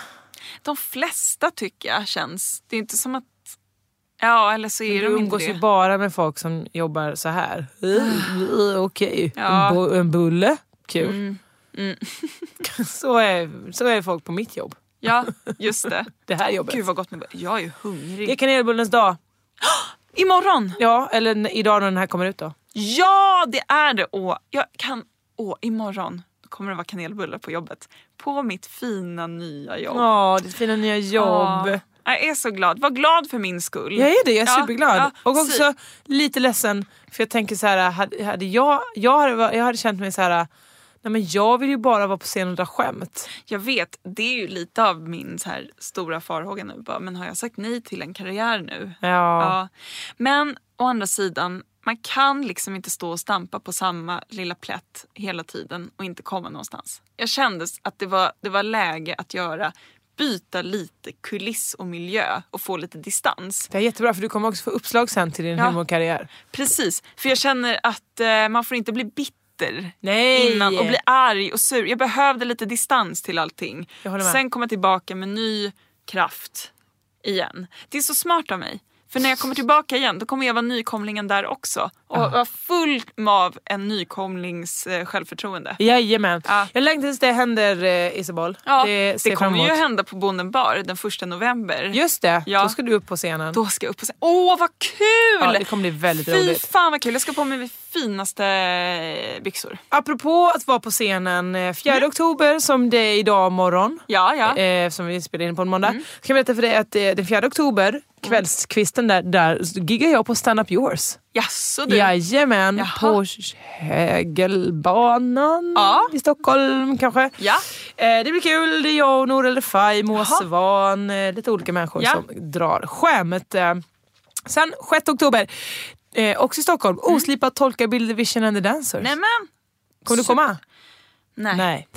Speaker 7: De flesta tycker jag känns. Det är inte som att... Ja, eller så är
Speaker 6: Du
Speaker 7: de inte
Speaker 6: umgås
Speaker 7: det.
Speaker 6: ju bara med folk som jobbar
Speaker 7: *gasps*
Speaker 6: så här. Eh, Okej,
Speaker 7: Ja.
Speaker 6: en, bu- en bulle. Kul.
Speaker 7: Mm. Mm.
Speaker 6: *laughs* Så, är, så är folk på mitt jobb.
Speaker 7: Ja, just
Speaker 6: *laughs*
Speaker 7: det.
Speaker 6: Det här jobbet.
Speaker 7: Gud vad gott med Jag är ju hungrig.
Speaker 6: Det är kanelbullens dag.
Speaker 7: Imorgon!
Speaker 6: Ja, eller n- idag när den här kommer ut då.
Speaker 7: Ja, det är det! Åh, jag kan... Åh, imorgon kommer det vara kanelbullar på jobbet. På mitt fina nya jobb.
Speaker 6: Ja, ditt fina nya jobb.
Speaker 7: Ja. Jag är så glad. Var glad för min skull.
Speaker 6: Jag är det, jag är
Speaker 7: Ja,
Speaker 6: superglad.
Speaker 7: ja,
Speaker 6: och
Speaker 7: si-
Speaker 6: också lite ledsen för jag tänker så här, hade, hade jag, jag, hade, va- jag hade känt mig så här, nej men jag vill ju bara vara på scen och dra skämt.
Speaker 7: Jag vet, det är ju lite av min så här stora farhåga nu. Bara, men har jag sagt nej till en karriär nu?
Speaker 6: Ja.
Speaker 7: Men å andra sidan, man kan liksom inte stå och stampa på samma lilla plätt hela tiden och inte komma någonstans. Jag kände att det var, det var läge att göra byta lite kuliss och miljö och få lite distans.
Speaker 6: Det är jättebra för du kommer också få uppslag sen till din
Speaker 7: Ja.
Speaker 6: humorkarriär.
Speaker 7: Precis, för jag känner att eh, man får inte bli bitter
Speaker 6: Nej.
Speaker 7: innan och bli arg och sur. Jag behövde lite distans till allting.
Speaker 6: Jag håller med.
Speaker 7: Sen komma tillbaka med ny kraft igen. Det är så smart av mig. För när jag kommer tillbaka igen då kommer jag vara nykomlingen där också. Och
Speaker 6: Ja.
Speaker 7: vara full av en nykomlings eh, självförtroende.
Speaker 6: Jajamän. Jag längtar tills det händer eh, Isabel.
Speaker 7: Ja,
Speaker 6: det
Speaker 7: det,
Speaker 6: ser jag fram
Speaker 7: kommer ju
Speaker 6: emot.
Speaker 7: hända på Bonden bar den första november.
Speaker 6: Just det,
Speaker 7: Ja.
Speaker 6: då ska du upp på scenen.
Speaker 7: Då ska jag upp på scenen. Åh vad kul!
Speaker 6: Ja, det kommer bli väldigt
Speaker 7: Fy
Speaker 6: roligt.
Speaker 7: fan vad kul, jag ska på mig mina finaste eh, byxor.
Speaker 6: Apropå att vara på scenen eh, 4 oktober som det är idag morgon.
Speaker 7: Ja, Mm. ja. Mm.
Speaker 6: Eh, som vi spelar in på en måndag. Så kan jag berätta för dig att eh, den 4 oktober, kvällskvisten där, där giggar jag på Stand Up Yours.
Speaker 7: Jaså du?
Speaker 6: Jajamän, på Hägelbanan i Stockholm kanske.
Speaker 7: Ja.
Speaker 6: Eh, det blir kul, det är jag och Nour El Refai, Moa Svahn, eh, lite olika människor
Speaker 7: Ja.
Speaker 6: som drar skämt. Eh, sen 6 oktober, eh, också i Stockholm,
Speaker 7: Mm.
Speaker 6: Oslipat tolkar Bill Vision and the Dancers.
Speaker 7: Nämen!
Speaker 6: Kommer du komma?
Speaker 7: Nej.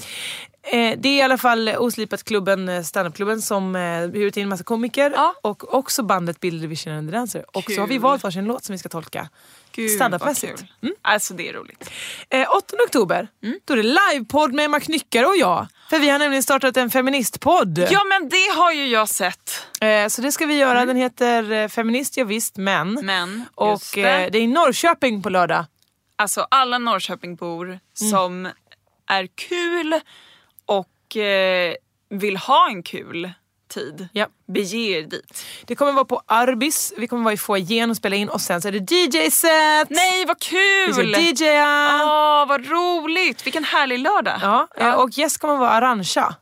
Speaker 6: Eh, det är i alla fall Oslipat-klubben, eh, standupklubben som eh, bjudit in massa komiker och också bandet Bill Division and the Dancer. Och så har vi
Speaker 7: Kul.
Speaker 6: valt varsin låt som vi ska tolka
Speaker 7: Gud, vad
Speaker 6: standupmässigt. Mm.
Speaker 7: kul. Alltså det är roligt.
Speaker 6: Eh, 8 oktober,
Speaker 7: Mm.
Speaker 6: då är det livepodd med Emma Knyckare och jag. För vi har nämligen startat en feministpodd.
Speaker 7: Ja men det har ju jag sett.
Speaker 6: Eh, så det ska vi göra. Den heter eh, Feminist, ja, visst men.
Speaker 7: Men,
Speaker 6: och
Speaker 7: just
Speaker 6: det.
Speaker 7: det.
Speaker 6: Eh, det är i Norrköping på lördag.
Speaker 7: Alltså alla Norrköpingbor
Speaker 6: Mm.
Speaker 7: som är kul och eh, vill ha en kul tid.
Speaker 6: Ja.
Speaker 7: Bege er dit.
Speaker 6: Det kommer vara på Arbis, vi kommer vara i foajén och spela in och sen så är det DJ-set!
Speaker 7: Nej vad
Speaker 6: Vi ska
Speaker 7: kul!
Speaker 6: DJa!
Speaker 7: Åh vad roligt! Vilken härlig lördag.
Speaker 6: Ja, eh, och gäst kommer vara Arantxa.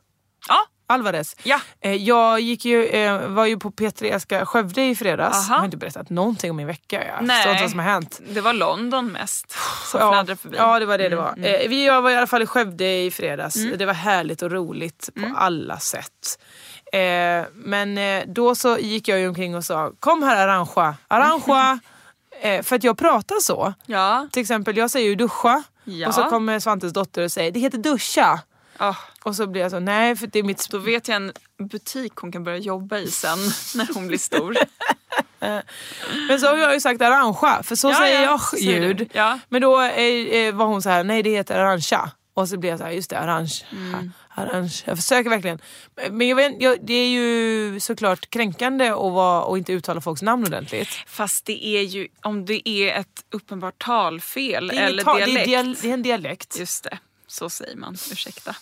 Speaker 7: Ja.
Speaker 6: Alvarez.
Speaker 7: Ja.
Speaker 6: Eh, Jag gick ju, eh, var ju på P3 Aska Skövde i fredags.
Speaker 7: Aha.
Speaker 6: Jag har inte berättat någonting om min vecka. Jag
Speaker 7: Nej.
Speaker 6: förstår inte vad som har hänt.
Speaker 7: Det var London mest som
Speaker 6: Ja.
Speaker 7: fladdrade förbi.
Speaker 6: Ja, det var det det
Speaker 7: Mm,
Speaker 6: var.
Speaker 7: mm.
Speaker 6: Eh, vi- Jag var i alla fall i Skövde i fredags.
Speaker 7: Mm.
Speaker 6: Det var härligt och roligt på alla sätt. Eh, men eh, då så gick jag ju omkring och sa kom här Arantxa,
Speaker 7: *laughs*
Speaker 6: Arantxa. eh, för att jag pratar så.
Speaker 7: Ja.
Speaker 6: Till exempel jag säger ju duscha
Speaker 7: Ja.
Speaker 6: och så kommer Svantes dotter och säger det heter duscha.
Speaker 7: Ah.
Speaker 6: Och så blir jag så nej för det är mitt...
Speaker 7: Då vet jag en butik hon kan börja jobba i sen när hon blir stor.
Speaker 6: Men så har jag ju sagt arrangea, för så
Speaker 7: Ja,
Speaker 6: säger
Speaker 7: ja,
Speaker 6: jag
Speaker 7: så säger du.
Speaker 6: ljud.
Speaker 7: Ja.
Speaker 6: Men då eh, eh, var hon så här, nej det heter arrangea. Och så blev jag så här, just det, arrange. Mm. Arrange. Jag försöker verkligen. Men jag vet, jag, det är ju såklart kränkande att, vara, och inte uttala folks namn ordentligt.
Speaker 7: Fast det är ju om det är ett uppenbart talfel
Speaker 6: Det är, inget
Speaker 7: eller
Speaker 6: tal, det, är
Speaker 7: dialekt.
Speaker 6: dial, det är en dialekt.
Speaker 7: Just det, så säger man. Ursäkta.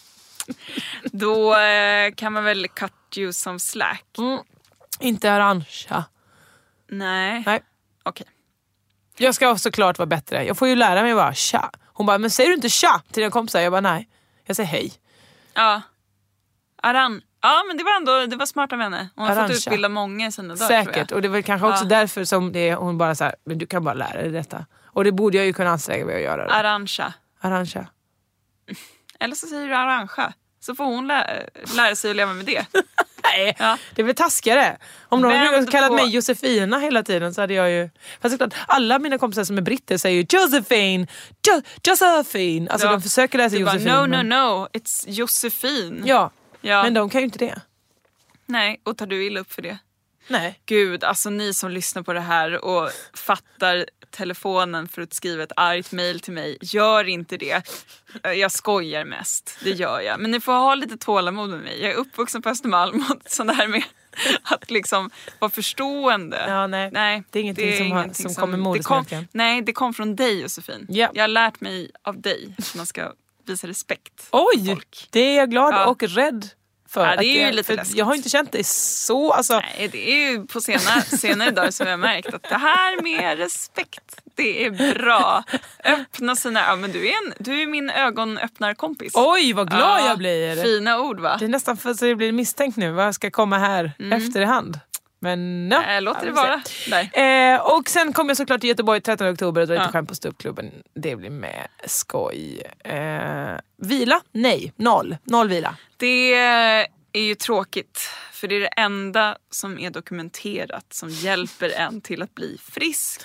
Speaker 7: *laughs* Då eh, kan man väl cut you some slack.
Speaker 6: Mm. Inte orangea.
Speaker 7: Nej.
Speaker 6: Nej.
Speaker 7: Okej.
Speaker 6: Jag ska såklart vara bättre. Jag får ju lära mig bara tja. Hon bara, men säger du inte tja till dina kompisar? Jag bara, nej. Jag säger hej.
Speaker 7: Ja. Aran. Ja men det var ändå det var smart av henne. Hon har
Speaker 6: Arantxa.
Speaker 7: fått utbilda många i sina dagar tror
Speaker 6: Säkert.
Speaker 7: jag.
Speaker 6: Och det är väl kanske också
Speaker 7: Ja.
Speaker 6: därför som det är, hon bara så här, men du kan bara lära dig detta. Och det borde jag ju kunna anstränga mig att göra. då.
Speaker 7: Arantxa.
Speaker 6: Arantxa.
Speaker 7: Eller så säger du Arantxa. Så får hon lä- lära sig att leva med det.
Speaker 6: Nej, det är väl taskigare. Om någon hade
Speaker 7: Vänd
Speaker 6: kallat
Speaker 7: på-
Speaker 6: mig Josefina hela tiden så hade jag ju... Fast såklart, alla mina kompisar som är britter säger ju Josephine, jo- Josephine. Alltså
Speaker 7: Ja.
Speaker 6: de försöker lära sig
Speaker 7: Du bara,
Speaker 6: Josefin.
Speaker 7: no, no,
Speaker 6: men-
Speaker 7: no, it's Josefin.
Speaker 6: Ja.
Speaker 7: Ja.
Speaker 6: men de kan ju inte det.
Speaker 7: Nej, och tar du illa upp för det?
Speaker 6: Nej.
Speaker 7: Gud, alltså ni som lyssnar på det här och fattar telefonen för att skriva ett argt mejl till mig, gör inte det. Eh, Jag skojar mest, det gör jag. Men ni får ha lite tålamod med mig. Jag är uppvuxen på Östermalm och sånt där med att liksom vara förstående.
Speaker 6: Ja, nej. Det är ingenting som har- som kommer
Speaker 7: det kom,
Speaker 6: modersmjölken.
Speaker 7: Nej, det kom från dig Josefin.
Speaker 6: Ja.
Speaker 7: Jag har lärt mig av dig att man ska visa respekt.
Speaker 6: Oj! Det är jag glad
Speaker 7: Ja.
Speaker 6: och rädd för.
Speaker 7: Ja, det
Speaker 6: att
Speaker 7: är ju
Speaker 6: jag,
Speaker 7: lite
Speaker 6: för
Speaker 7: läskigt.
Speaker 6: Jag har inte känt det så. Alltså,
Speaker 7: Nej, det är ju på senare, senare dagar som jag har märkt att det här med respekt, det är bra. Öppna sina ögon. Men du är, en, du är min ögonöppnarkompis.
Speaker 6: Oj, vad glad
Speaker 7: Ja,
Speaker 6: jag blir!
Speaker 7: Fina ord va?
Speaker 6: Det är nästan för att jag blir misstänkt nu vad jag ska komma här
Speaker 7: Mm.
Speaker 6: efterhand. Men ja,
Speaker 7: Äh, låter
Speaker 6: ja,
Speaker 7: det
Speaker 6: vi får
Speaker 7: vara.
Speaker 6: se.
Speaker 7: Där.
Speaker 6: Eh, och sen kommer jag såklart till Göteborg 13 oktober och drar lite
Speaker 7: Ja.
Speaker 6: skämt på ståuppklubben. Det blir med skoj. Eh, vila? Nej, noll. Noll vila.
Speaker 7: Det är ju tråkigt, för det är det enda som är dokumenterat som hjälper en till att bli frisk.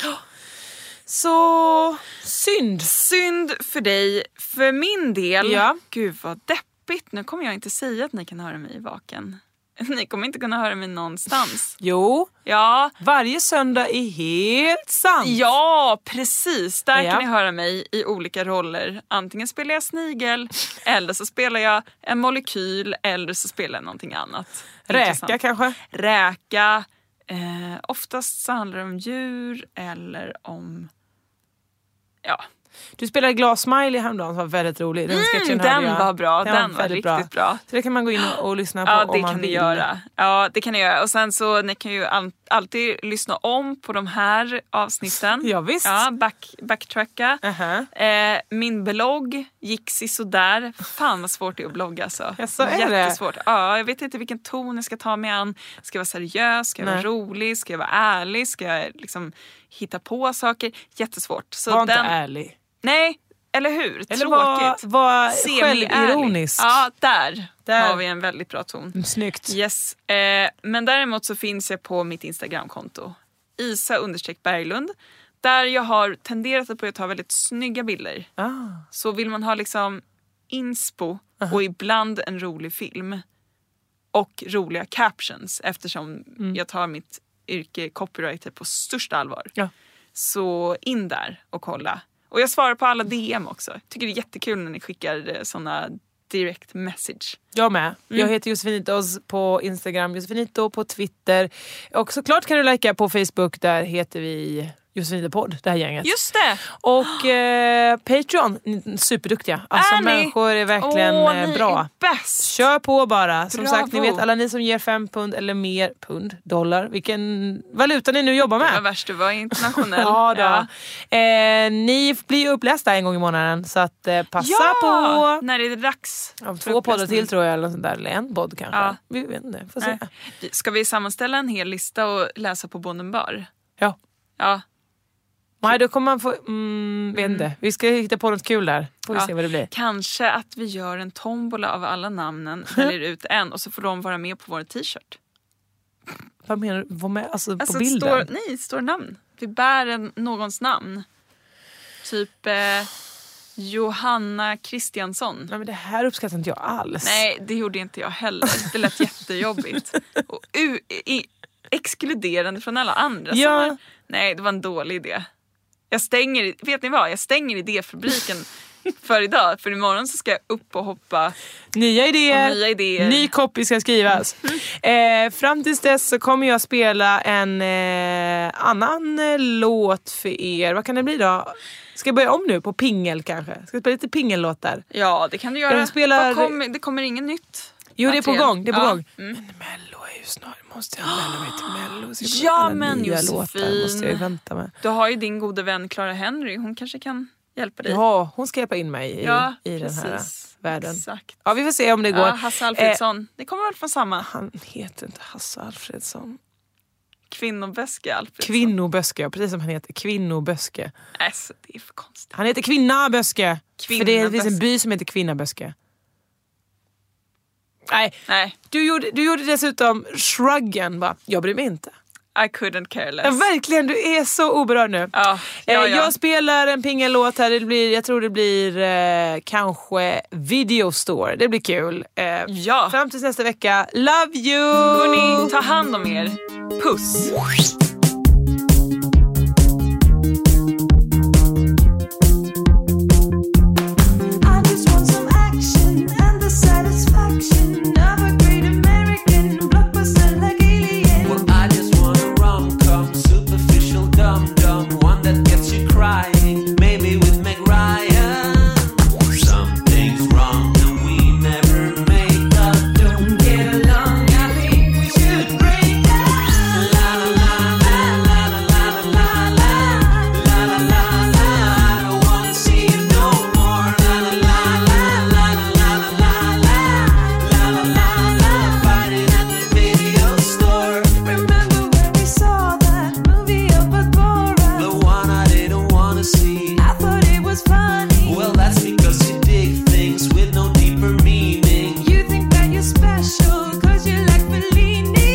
Speaker 6: Så synd.
Speaker 7: Synd för dig. För min del,
Speaker 6: Ja.
Speaker 7: gud vad deppigt. Nu kommer jag inte säga att ni kan höra mig i vaken. Ni kommer inte kunna höra mig någonstans.
Speaker 6: Jo,
Speaker 7: Ja,
Speaker 6: varje söndag är helt sant.
Speaker 7: Ja, precis. Där
Speaker 6: Ja.
Speaker 7: kan ni höra mig i olika roller. Antingen spelar jag snigel, eller så spelar jag en molekyl eller så spelar jag någonting annat.
Speaker 6: Räka
Speaker 7: Intressant.
Speaker 6: kanske?
Speaker 7: Räka. Eh, oftast så handlar det om djur eller om... Ja.
Speaker 6: Du spelade Glass Smiley häromdagen som var väldigt rolig. Den,
Speaker 7: Mm,
Speaker 6: sketchen
Speaker 7: den
Speaker 6: hörde jag.
Speaker 7: var bra. Den var
Speaker 6: väldigt
Speaker 7: riktigt bra.
Speaker 6: Så det kan man gå in och, och lyssna på
Speaker 7: Ja,
Speaker 6: om
Speaker 7: det
Speaker 6: man
Speaker 7: kan ni
Speaker 6: vill.
Speaker 7: göra. Ja, det kan ni göra. Och sen så ni kan ju all- alltid lyssna om på de här avsnitten.
Speaker 6: Ja, visst.
Speaker 7: Ja, back, backtracka. Eh, min blogg gick sådär. Fan vad svårt det är att blogga alltså.
Speaker 6: Ja, så är det.
Speaker 7: Jättesvårt. Ja, jag vet inte vilken ton jag ska ta mig an. Ska jag vara seriös? Ska jag
Speaker 6: Nej.
Speaker 7: vara rolig? Ska jag vara ärlig? Ska jag liksom hitta på saker? Jättesvårt. Så
Speaker 6: Var inte
Speaker 7: den-
Speaker 6: ärlig.
Speaker 7: Nej, eller hur?
Speaker 6: Eller var,
Speaker 7: Tråkigt.
Speaker 6: var
Speaker 7: Semi-ärlig.
Speaker 6: självironisk.
Speaker 7: Ja, där,
Speaker 6: Där.
Speaker 7: har vi en väldigt bra ton.
Speaker 6: Snyggt.
Speaker 7: Yes. Eh, men däremot så finns jag på mitt Instagramkonto. Isa understreck Berglund. Där jag har tenderat att börja ta väldigt snygga bilder.
Speaker 6: Ah.
Speaker 7: Så vill man ha liksom inspo och ibland en rolig film och roliga captions eftersom jag tar mitt yrke copywriter på största allvar.
Speaker 6: Ja.
Speaker 7: Så in där och kolla. Och jag svarar på alla DM också. Tycker det är jättekul när ni skickar eh, såna direct message.
Speaker 6: Jag med. Jag
Speaker 7: Mm.
Speaker 6: heter Josefinitos på Instagram, Josefinito på Twitter. Och såklart kan du likea på Facebook, där heter vi Josefinitopodd, det här gänget.
Speaker 7: Just det!
Speaker 6: Och eh, Patreon, n- superduktiga. Alltså
Speaker 7: Är ni?
Speaker 6: människor är verkligen
Speaker 7: Åh,
Speaker 6: eh,
Speaker 7: ni
Speaker 6: bra.
Speaker 7: är bäst!
Speaker 6: Kör på bara. Som
Speaker 7: Bravo.
Speaker 6: sagt, ni vet alla ni som ger fem pund eller mer pund, dollar, vilken valuta ni nu jobbar
Speaker 7: Det var
Speaker 6: med.
Speaker 7: värst, du var internationell.
Speaker 6: *laughs* Ja, då. Eh, ni blir upplästa en gång i månaden så att, eh, passa
Speaker 7: ja,
Speaker 6: på.
Speaker 7: när det är dags.
Speaker 6: Om
Speaker 7: för
Speaker 6: två poddar
Speaker 7: uppläsning.
Speaker 6: till tror jag, eller, sånt där, eller en podd kanske.
Speaker 7: Ja.
Speaker 6: Vi vet inte, får se.
Speaker 7: Nej. Vi- Ska vi sammanställa en hel lista och läsa på Bonden bar?
Speaker 6: Ja.
Speaker 7: Ja,
Speaker 6: Nej, då kommer man få... Mm, vet inte. Vi ska hitta på något kul där. Får vi
Speaker 7: Ja.
Speaker 6: se vad det blir.
Speaker 7: Kanske att vi gör en tombola av alla
Speaker 6: *laughs*
Speaker 7: namnen, väljer ut en och så får de vara med på vår t-shirt.
Speaker 6: Vad menar du? Vad med, alltså,
Speaker 7: Alltså
Speaker 6: på
Speaker 7: det
Speaker 6: bilden?
Speaker 7: står, nej, det står namn. Vi bär en, någons namn. Typ eh, Johanna Kristiansson.
Speaker 6: Nej, men det här uppskattar inte jag alls.
Speaker 7: Nej, det gjorde inte jag heller. Det lät jättejobbigt. Och u- i, exkluderande från alla andra. som
Speaker 6: Ja.
Speaker 7: var- Nej, det var en dålig idé. Jag stänger, vet ni vad? Jag stänger idéfabriken för idag. För imorgon så ska jag upp och hoppa.
Speaker 12: Nya idéer,
Speaker 7: Och nya idéer. Mm.
Speaker 12: ny copy ska skrivas.
Speaker 7: *laughs*
Speaker 12: Eh, fram tills dess så kommer jag spela en eh, annan eh, låt för er. Vad kan det bli då? Ska jag börja om nu på pingel kanske? Ska jag spela lite pingellåtar?
Speaker 7: Ja det kan du göra.
Speaker 12: Jag spelar-
Speaker 7: Vad kommer- det kommer inget nytt.
Speaker 12: Jo det är på
Speaker 7: material.
Speaker 12: gång, det är på
Speaker 7: Ja.
Speaker 12: gång.
Speaker 7: Mm.
Speaker 12: Måste jag anmäla mig
Speaker 7: *gasps*
Speaker 12: till mello? Så jag får
Speaker 7: Ja
Speaker 12: alla
Speaker 7: men
Speaker 12: nya låtar måste jag ju
Speaker 7: Josefin.
Speaker 12: vänta med.
Speaker 7: Du har ju din gode vän Clara Henry. Hon kanske kan hjälpa dig.
Speaker 12: Ja, hon ska hjälpa in mig i,
Speaker 7: Ja,
Speaker 12: i den här
Speaker 7: precis.
Speaker 12: världen.
Speaker 7: Exakt.
Speaker 12: Ja, vi får se om det går. Eh,
Speaker 7: Ja, Hasse Alfredsson. det kommer väl från samma.
Speaker 12: Han heter inte Hasse Alfredsson.
Speaker 7: Kvinnobäske Alfredsson.
Speaker 12: Kvinnoböske, ja, precis som han heter. Kvinnoböske.
Speaker 7: Alltså, det är för konstigt.
Speaker 12: Han heter Kvinnaböske. För det,
Speaker 7: Kvinnaböske.
Speaker 12: finns en by som heter Kvinnaböske. Nej, Du, gjorde, du gjorde dessutom shruggen. Bara, jag bryr mig inte.
Speaker 7: I couldn't care less.
Speaker 12: Ja, verkligen, du är så oberörd nu.
Speaker 7: Ja,
Speaker 12: Eh,
Speaker 7: ja, ja.
Speaker 12: Jag spelar en pingellåt här. Det blir, jag tror det blir eh, kanske Video Store. Det blir kul. Eh,
Speaker 7: ja.
Speaker 12: Fram tills nästa vecka. Love you!
Speaker 7: Hörni, ta hand om er. *laughs* Puss!
Speaker 13: I just want some action and the satisfaction of a great American blockbuster like Alien.
Speaker 6: Well, I just want a rom com, superficial dum dum, one that gets you crying, maybe with Meg Ryan. Something's wrong and we never make up. Don't get along, I think we should break up. La la la la la la la la la la la la. I don't wanna see you no more. La la la la la la la la la la la la. Fighting at the video store.
Speaker 13: Remember when we saw that movie up at Bora?
Speaker 6: The one I didn't wanna see.
Speaker 13: I thought it was funny.
Speaker 6: Well, that's because you dig things with no deeper meaning.
Speaker 13: You think that you're special 'cause you like Fellini.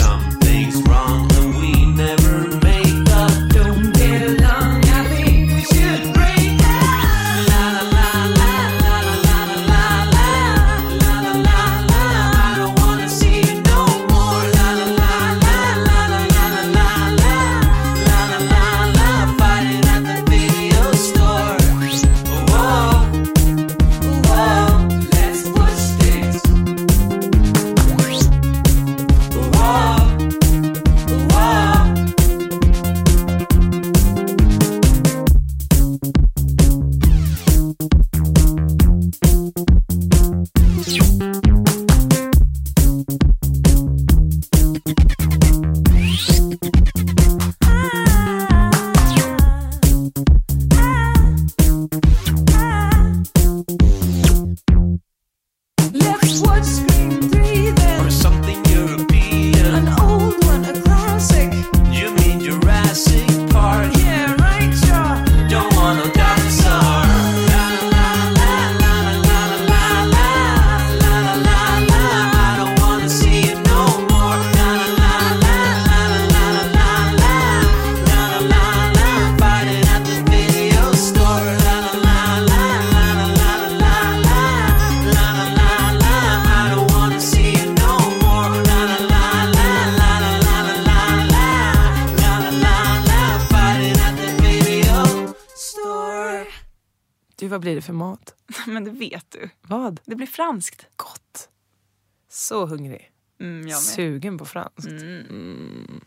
Speaker 6: Something's wrong and we never make up. Don't get along, I think we should break up. La la la la la la la la la la la la la. I don't wanna see you no more. La la la la la la la la la la la la la la. Fighting at the video store. Whoa, whoa, let's push things. Whoa. Ah.
Speaker 13: Let's watch Scream 3 then.
Speaker 6: Or something European.
Speaker 13: An old one, a classic.
Speaker 6: You mean Jurassic Park?
Speaker 13: Yeah, right, sure.
Speaker 6: Don't want no dinosaur. La la la la la la la la la la la la. I don't wanna see it no more. La la la la la la la la la la la la. Fighting at the video store. La la la la la la la la la la la. I don't wanna see it no more. La la la la la la la la la la la. Fighting at the video store.
Speaker 12: Du, vad blir det för mat?
Speaker 7: Men det vet du.
Speaker 12: Vad?
Speaker 7: Det blir franskt.
Speaker 12: Gott. Så hungrig.
Speaker 7: Mm, jag med.
Speaker 12: Sugen på franskt. Mm.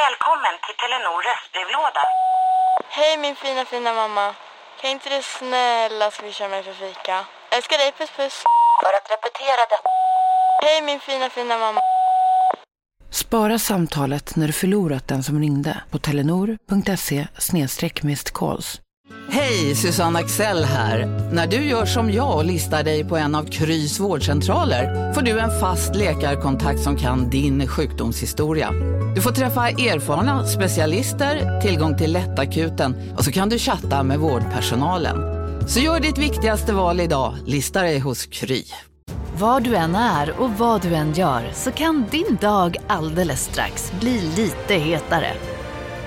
Speaker 14: Välkommen till Telenor röstbrevlåda. Hej min fina fina mamma. Kan inte du snälla swisha mig för fika? Älskar dig, puss puss. För att repetera det. Hej min fina fina mamma.
Speaker 15: Spara samtalet när du förlorat den som ringde på telenor.se E calls.
Speaker 5: Hej, Susanne Axel här. När du gör som jag och listar dig på en av Krys vårdcentraler får du en fast läkarkontakt som kan din sjukdomshistoria. Du får träffa erfarna specialister, tillgång till lättakuten och så kan du chatta med vårdpersonalen. Så gör ditt viktigaste val idag, listar dig hos Kry.
Speaker 2: Var du än är och vad du än gör så kan din dag alldeles strax bli lite hetare.